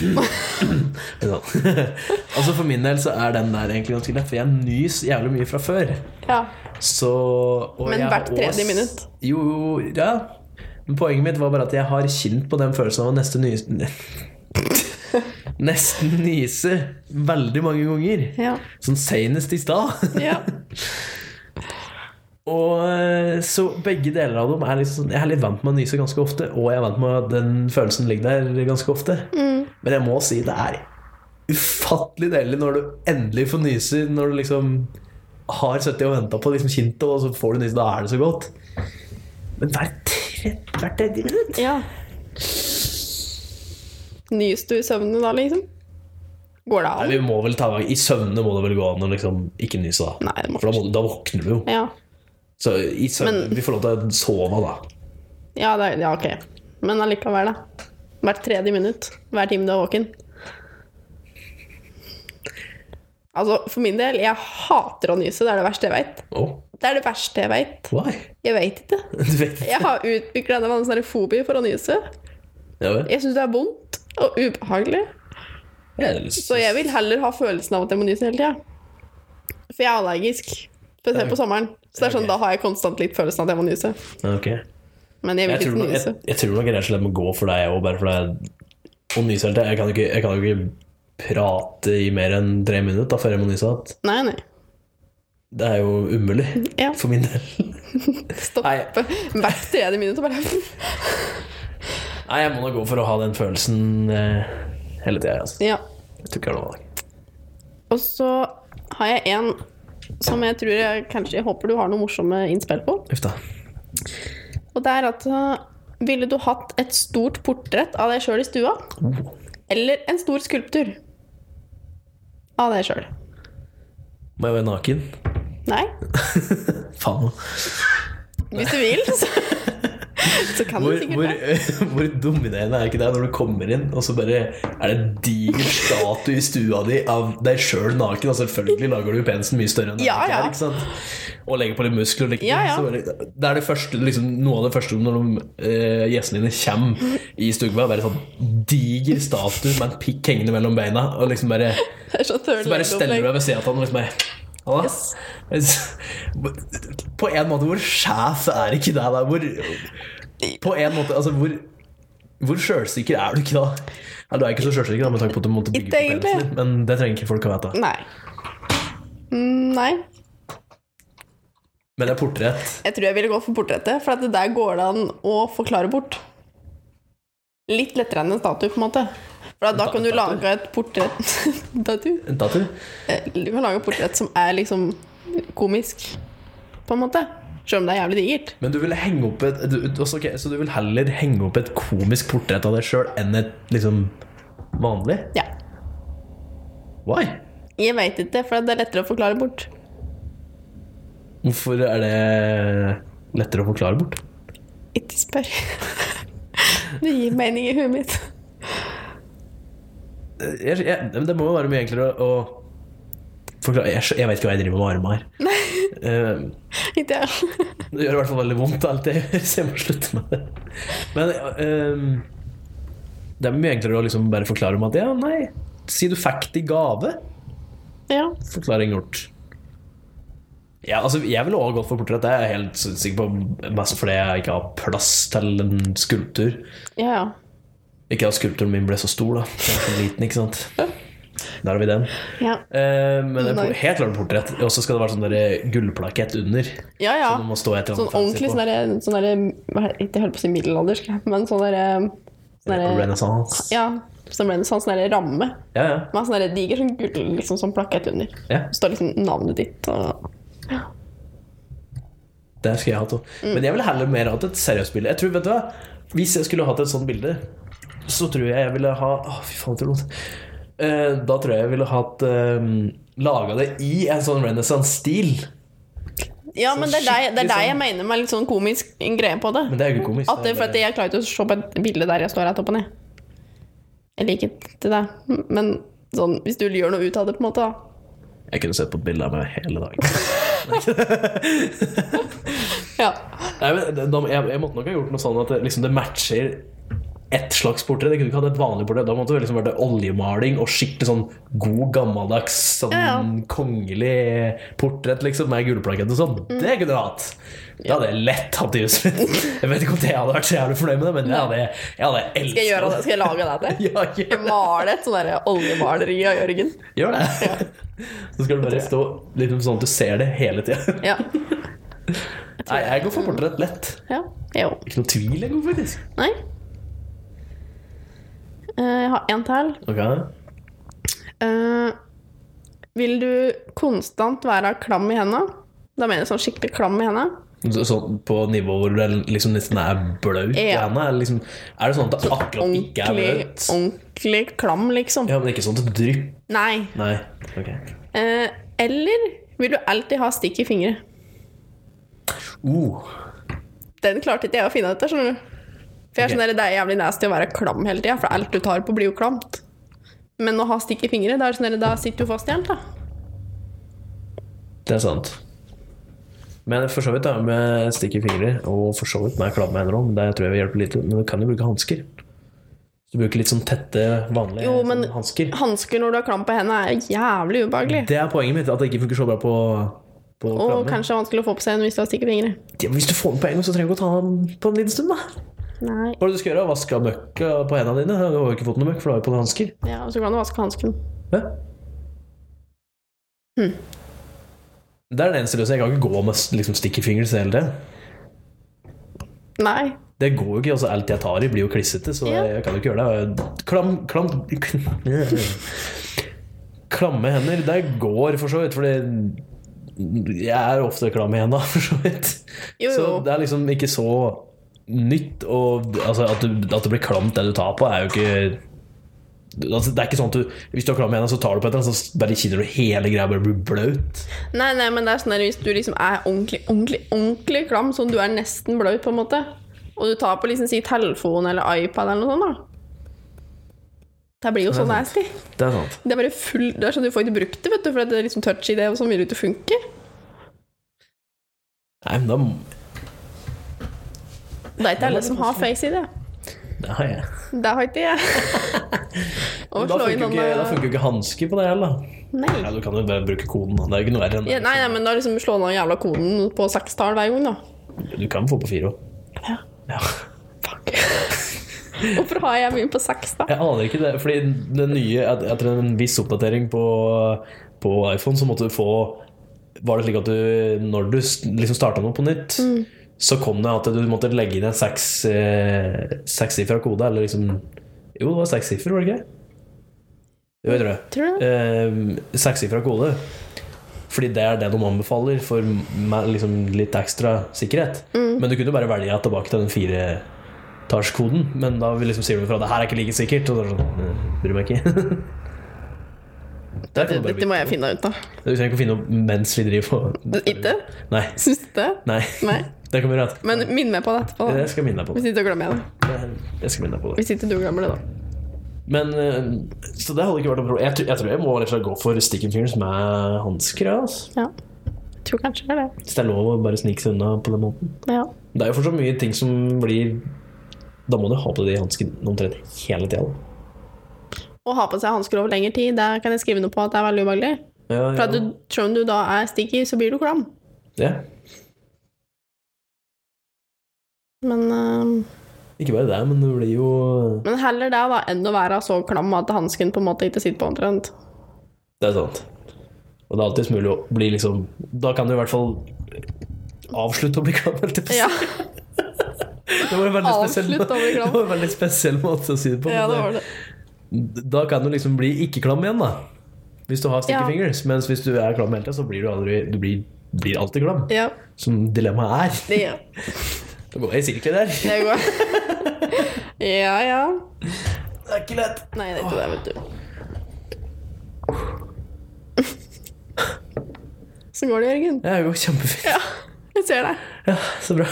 A: *clears throat* *laughs* altså for min del så er den der egentlig ganske lett, for jeg nys jævlig mye fra før.
B: Ja.
A: Så, og
B: Men
A: jeg
B: hvert
A: har
B: tredje
A: også-
B: minutt.
A: Jo, jo, ja. Men poenget mitt var bare at jeg har kjent på den følelsen av å neste nys... *laughs* Nesten nyse veldig mange ganger.
B: Ja.
A: Sånn senest i stad.
B: ja.
A: Og eh, så begge deler av dem er litt sånn Jeg er litt vant med å nyse ganske ofte, og jeg er vant med at den følelsen ligger der ganske ofte.
B: Mm.
A: Men jeg må si det er ufattelig deilig når du endelig får nyse, når du liksom har sittet og venta på liksom kintet, og så får du nyse. Da er det så godt. Men hver tredje, hvert tredje minutt
B: ja. Nyste du i søvne da, liksom? Går det
A: Nei,
B: an?
A: vi må vel ta I søvne må det vel gå an å liksom ikke nyse, da.
B: Nei, det må
A: For da, må, da våkner du jo.
B: Ja.
A: Så i søvne
B: Men-
A: Vi får lov til å sove, da.
B: Ja, det, er- ja, ok. Men allikevel, da. Hvert tredje minutt. Hver time du er våken. Altså, for min del, jeg hater å nyse. Det er det verste jeg veit.
A: Oh,
B: Det er det verste jeg veit.
A: why? *laughs*
B: Jeg veit ikke.
A: Du vet
B: Jeg har utvikla en sånn fobi for å nyse.
A: Ja vel.
B: Jeg syns det er vondt og ubehagelig.
A: Ja, det er litt-
B: Så jeg vil heller ha følelsen av at jeg må nyse hele tida. For jeg er allergisk. Spesielt på sommeren. Så det er sånn, da har jeg konstant litt følelsen av at jeg må nyse.
A: Ok.
B: Men jeg
A: Jeg
B: vil
A: tror,
B: ikke
A: nok, jeg,
B: nyse.
A: jeg tror nok rett og slett må gå for deg òg, bare for deg å nyse hele tida. Jeg kan jo ikke, jeg kan jo ikke prate i mer enn tre minutter da, før jeg må nyse igjen.
B: Nei, nei.
A: Det er jo umulig
B: *laughs* Ja.
A: for min del. Nei.
B: Stoppe hvert tredje minutt og bare
A: Nei, jeg må nok gå for å ha den følelsen eh, hele tida. Altså.
B: Ja.
A: Jeg tror ikke jeg har noe valg.
B: Og så har jeg en som jeg tror jeg kanskje Jeg håper du har noe morsomme innspill på.
A: Uff da.
B: Og det er at uh, Ville du hatt et stort portrett av deg sjøl i stua? Eller en stor skulptur av deg sjøl?
A: Må jeg være naken?
B: Nei,
A: Faen.
B: hvis du vil, så, så kan
A: Hvor,
B: du sikkert
A: hvor,
B: det.
A: *laughs* hvor dominerende er ikke det når du kommer inn, og så bare er det en diger statue i stua di av deg sjøl naken? Og selvfølgelig lager du penisen mye større enn den
B: Ja,
A: egentlig
B: ja.
A: er. ikke sant? Og legger på litt muskler. og litt-
B: Ja, ja.
A: så Bare, det er det første, liksom, noe av det første når de, eh, gjestene dine kommer i stugva. Bare sånn diger statue med en pikk hengende mellom beina. Og liksom bare,
B: Det er sånn så
A: så bare steller du deg ved siden av han og liksom bare Halla. På en måte, hvor sjef er ikke det der? Hvor på en måte, altså hvor hvor sjølsikker er du ikke da? Ja, du er ikke så sjølsikker da, med tanke på at du måtte bygge
B: Ikke
A: på
B: egentlig.
A: penisen, men det trenger ikke folk å vite.
B: Nei. Mm, Nei.
A: Men det er portrett.
B: Jeg tror jeg ville gå for portrettet, for at det der går det an å forklare bort. Litt lettere enn en statue, på en måte. For at da
A: Da-
B: kan du
A: statue?
B: lage et portrett *laughs* Statue?
A: En tattoo?
B: Eh, Du kan lage et portrett som er liksom komisk, på en måte. Selv om det er jævlig digert.
A: Men du vil henge opp et du, du- også, ok, Så du vil heller henge opp et komisk portrett av deg sjøl enn et liksom vanlig?
B: Ja.
A: Why?
B: Jeg veit ikke, for det er lettere å forklare bort.
A: Hvorfor er det lettere å forklare bort?
B: Ikke spør. *laughs* Det gir mening i huet mitt. *laughs*
A: Jeg, jeg, men det må jo være mye enklere å, å forklare jeg, skj- jeg vet ikke hva jeg driver med med armene her. *laughs* Eh,
B: Ikke jeg. *laughs*
A: Det gjør i hvert fall veldig vondt, alt *laughs* jeg gjør, så jeg må slutte med det. Men ehm, det er mye enklere å liksom bare forklare om at ja, nei, si du fikk det i gave.
B: ja.
A: Forklaring gjort. Ja, altså, jeg ville også gått for portrett. Jeg er helt sikker på Mest fordi jeg ikke har plass til en skulptur.
B: Ja, ja.
A: Ikke at skulpturen min ble så stor, da. Den er for liten, ikke sant. Der har vi den.
B: Ja,
A: Eh, men det er
B: Nei.
A: por- helt klart portrett. Og så skal det være sånn der gullplakett under.
B: ja. ja.
A: Som det må stå et eller
B: Sånn
A: annet fancy
B: ordentlig
A: på.
B: sånn derre sånn derre- hva er- Ikke holdt på å si middelaldersk, men sånn derre sånn derre-
A: Renaissance.
B: Ja. Som ble en sånn sånn derre ramme
A: Ja, ja.
B: med sånn derre diger sånn gull liksom, sånn plakett under. Det
A: ja.
B: står liksom navnet ditt og
A: Det skulle jeg hatt òg.
B: Mm.
A: Men jeg ville heller mer hatt et seriøst bilde. Jeg tror, vet du hva? Hvis jeg skulle hatt et sånt bilde, så tror jeg jeg ville ha Å, fy faen, det gjorde vondt. Eh, Da tror jeg jeg ville hatt um, laga det i en sånn renaissance-stil.
B: Ja, men det er deg, det er
A: skikkelig
B: deg jeg
A: sånn-
B: mener med litt sånn komisk greie på det.
A: Men det er liksom jo ikke komisk.
B: At det, for at jeg klarer ikke å se på et bilde der jeg står rett opp og ned. Jeg liker ikke det. Men sånn, hvis du gjør noe ut av det, på en måte, da.
A: Jeg kunne sett på et bilde av meg hele dagen.
B: Ja.
A: Nei, men det- da, jeg, jeg måtte nok ha gjort noe sånn at det, liksom, det matcher ett slags portrett. Jeg kunne ikke hatt et vanlig portrett. Da måtte det liksom vært oljemaling og skikkelig sånn god, gammeldags, sånn
B: Ja, ja.
A: kongelig portrett liksom, med gullplakett og sånn.
B: Mm.
A: Det kunne jeg hatt! Det hadde jeg lett hatt i huset mitt. *laughs* Jeg vet ikke om det hadde vært så jævlig fornøyd med det, men jeg hadde, jeg hadde elsket
B: Skal jeg, gjøre det? Skal jeg lage det til?
A: Ja, gjør det. *laughs*
B: Male et sånn derre oljemaleri av Jørgen.
A: Gjør det. *laughs* Så skal du bare stå liksom sånn at du ser det hele tida.
B: Ja.
A: Nei, jeg går for portrett lett.
B: ja. Jo.
A: Ikke noe tvil jeg går for, faktisk.
B: Nei. Eh, Jeg har en til.
A: Ok,
B: Eh, vil du konstant være klam i hendene? Da mener jeg sånn skikkelig klam i hendene.
A: Så- Sånn på nivå hvor det liksom nesten er blaut i
B: Ja.
A: hendene? Er, det liksom, er det sånn at det akkurat ikke er
B: Ordentlig,
A: blaut?
B: ordentlig klam, liksom.
A: Ja, men ikke sånn at det drypper?
B: Nei.
A: Nei. ok
B: Eh, eller vil du alltid ha stikk i fingre?
A: Uh,
B: Den klarte ikke jeg å finne etter, skjønner du. For jeg
A: Ok.
B: skjønner det er jævlig nasty å være klam hele tida, for alt du tar på, blir jo klamt. Men å ha stikk i fingre, da, er det sånn, da sitter du fast igjen, da.
A: det er sant. Men for så vidt da, med stikk i fingre og for så vidt med klamme hender òg, men det tror jeg vil hjelpe litt. Men du kan jo bruke hansker. Du bruker litt sånn tette, vanlige
B: Jo, men-
A: sånn hansker.
B: Hansker når du har klam på hendene, er jævlig ubehagelig.
A: Det er poenget mitt, at det ikke funker så bra på, på klamme.
B: Og kanskje vanskelig å få på seg en hvis du har stikk i fingre.
A: Ja, men Hvis du får den på en gang, så trenger du ikke å ta den på en liten stund, da.
B: Nei.
A: Hva er det du skal gjøre? Vaske av møkka på hendene dine? Du har jo ikke fått noe møkk, for du har jo på deg hansker.
B: Ja, og så kan du vaske hansken.
A: Ja. Det er den eneste løsningen. Jeg kan ikke gå med liksom, stikkefingers hele tiden.
B: Nei.
A: Det går jo ikke. altså Alt jeg tar i, blir jo klissete, så
B: Ja.
A: jeg kan jo ikke gjøre det. Klam, klam, *laughs* klamme hender, det går for så vidt, fordi jeg er ofte klam i hendene, *laughs* for så vidt.
B: Jo, jo.
A: Så det er liksom ikke så nytt. Og altså, at, du, at det blir klamt, det du tar på, er jo ikke Altså, det er ikke sånn at du, Hvis du har klam i hendene, så tar du på et eller annet, så bare kjenner du hele greia bare blir blaut.
B: Nei, nei, men det er sånn der, hvis du liksom er ordentlig, ordentlig, ordentlig klam, sånn du er nesten blaut på en måte, og du tar på liksom si telefon eller iPad eller noe sånt da, det blir jo så nasty.
A: Det er sant.
B: Det er bare full, det er sånn du får ikke brukt det, vet du, for det er liksom touch i det, og sånn vil det ikke funke.
A: Nei, men da
B: Det er ikke alle som har face i det.
A: Det har jeg.
B: Det har ikke
A: *laughs*
B: jeg.
A: Da
B: Og slå
A: funker
B: inn
A: jo
B: noen...
A: ikke, da funker jo ikke hansker på det heller. da.
B: Nei.
A: Ja, du kan jo bare bruke koden. da. Det er jo ikke noe verre enn
B: Ja,
A: det.
B: nei, nei, men da liksom slå noen jævla koden på sekstall hver gang da.
A: Du kan få på fire òg.
B: Ja.
A: Ja.
B: Fuck. *laughs* Hvorfor har jeg mye på seks da?
A: Jeg aner ikke det. Fordi den nye, et- etter en viss oppdatering på, på iPhone, så måtte du få Var det slik at du, når du s- liksom starta noe på nytt,
B: Mm.
A: så kom det at du måtte legge inn en seks eh, sekssifra kode, eller liksom Jo, det var sekssiffer, var det ikke? Jo, jeg tror det.
B: Tror du det?
A: eh, sekssifra kode. Fordi det er det de anbefaler for me- liksom litt ekstra sikkerhet.
B: Mm.
A: Men du kunne bare velge tilbake til den firetallskoden. Men da vil liksom sier du fra det her er ikke like sikkert. Og så er det sånn, «Eh, bryr meg ikke. Der kan du bare
B: Dette
A: bytte.
B: må jeg finne ut *laughs* da.
A: Du trenger ikke å finne opp mens vi driver på.
B: Ikke?
A: Nei.
B: Syns du det?
A: Nei.
B: Nei.
A: Det kan vi gjøre etterpå.
B: Men minn meg på det etterpå. da.
A: Jeg skal minne deg på det.
B: Hvis ikke du glemmer det.
A: Jeg skal minne deg på det.
B: Hvis ikke du glemmer det, da.
A: Men eh, Så det hadde ikke vært noe problem. Jeg, tror- jeg tror jeg må rett og slett gå for stick and fingers med hansker. Ja, altså.
B: Ja. Jeg tror kanskje det er det.
A: Hvis det er lov å bare snike seg unna på den måten.
B: Ja.
A: Det er jo fortsatt mye ting som blir Da må du ha på deg de hanskene omtrent hele tida.
B: Å ha på seg hansker over lengre tid, der kan jeg skrive noe på at det er veldig ubehagelig.
A: Ja,
B: For at du, selv om du da er sticky, så blir du klam.
A: ja.
B: Men, eh,
A: Ikke bare det, men det blir jo
B: men heller det da enn å være så klam at hansken på en måte ikke sitter på omtrent.
A: Det er sant. Og det er alltids mulig å bli liksom Da kan du i hvert fall avslutte å bli klam. holdt jeg på
B: *laughs*
A: å si. Det
B: Ja,
A: var en veldig spesiell,
B: Avslutte å bli klam.
A: *laughs* det var en veldig spesiell måte å si det på.
B: ja,
A: men
B: det var det.
A: Da kan du liksom bli ikke klam igjen, da. Hvis du har sticky
B: Ja.
A: fingers. Mens hvis du er klam hele tida, så blir du aldri Du blir, blir alltid klam.
B: Ja,
A: Som dilemmaet er.
B: det,
A: Nå går jeg i sirkler der.
B: det går. *laughs* Ja, ja.
A: Det er ikke lett.
B: Nei, det er ikke det, vet du. *laughs* Så går det, Jørgen.
A: Jeg er jo kjempefin.
B: Ja, jeg ser deg.
A: Ja, så bra.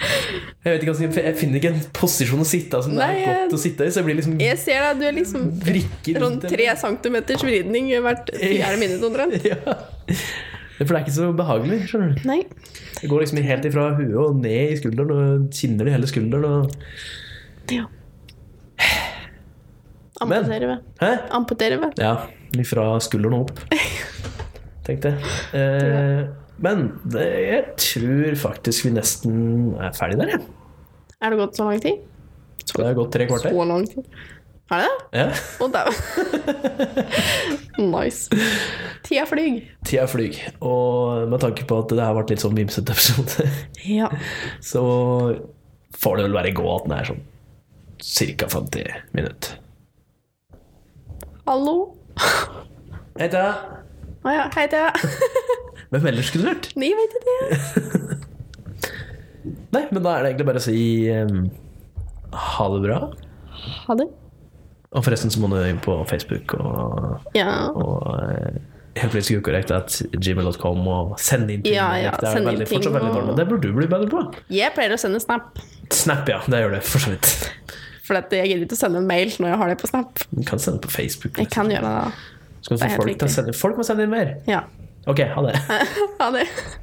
A: Jeg vet ikke hva jeg skal si, for jeg finner ikke en posisjon å sitte i som det
B: Nei,
A: er
B: jeg-
A: godt å sitte i, så jeg blir liksom
B: Jeg ser deg, du er liksom
A: vrikker
B: rundt
A: rundt.
B: tre centimeters vridning hvert fjerde minutt omtrent.
A: *laughs* Ja. For det er ikke så behagelig. skjønner du
B: Nei.
A: Det går liksom helt ifra huet og ned i skulderen og kinner i hele skulderen. Og...
B: Ja.
A: Men-
B: Amputere ved.
A: Hæ?
B: Amputere ved.
A: Ja, ifra skulderen og opp. Tenkte jeg. Eh, men det, jeg tror faktisk vi nesten er ferdig der, jeg.
B: Er det gått så lang tid?
A: Det har gått tre kvarter.
B: Så lang tid. Er det det?
A: Ja.
B: Å, dæven. nice. Tida flyr.
A: Tida flyr. Og med tanke på at det her ble litt sånn vimsete episode, *laughs*
B: Ja.
A: så får det vel være gå at den er sånn ca. 50 minutter.
B: Hallo.
A: Hei, Thea.
B: Å ja, hei Thea. *laughs*
A: Hvem ellers skulle det vært?
B: Nei, vet ikke det.
A: Nei, men da er det egentlig bare å si em, ha det bra.
B: Ha det.
A: Og forresten så må du inn på Facebook og,
B: Ja.
A: og eh, helt politisk ukorrekt at gmail.com og sende inn ting.
B: Ja, ja,
A: det er
B: send inn
A: veldig,
B: ting
A: fortsatt veldig
B: og-
A: dårlig. Det burde du bli bedre på.
B: Jeg pleier å sende snap,
A: Snap, ja. Det gjør det for så vidt.
B: for at jeg gidder ikke å sende en mail når jeg har det på snap.
A: Du kan sende på Facebook. liksom.
B: Jeg kan gjøre det da.
A: Skal du få
B: det er helt
A: folk, til å
B: riktig.
A: sende, folk må sende inn mer.
B: Ja.
A: Ok, ha det.
B: Ha det.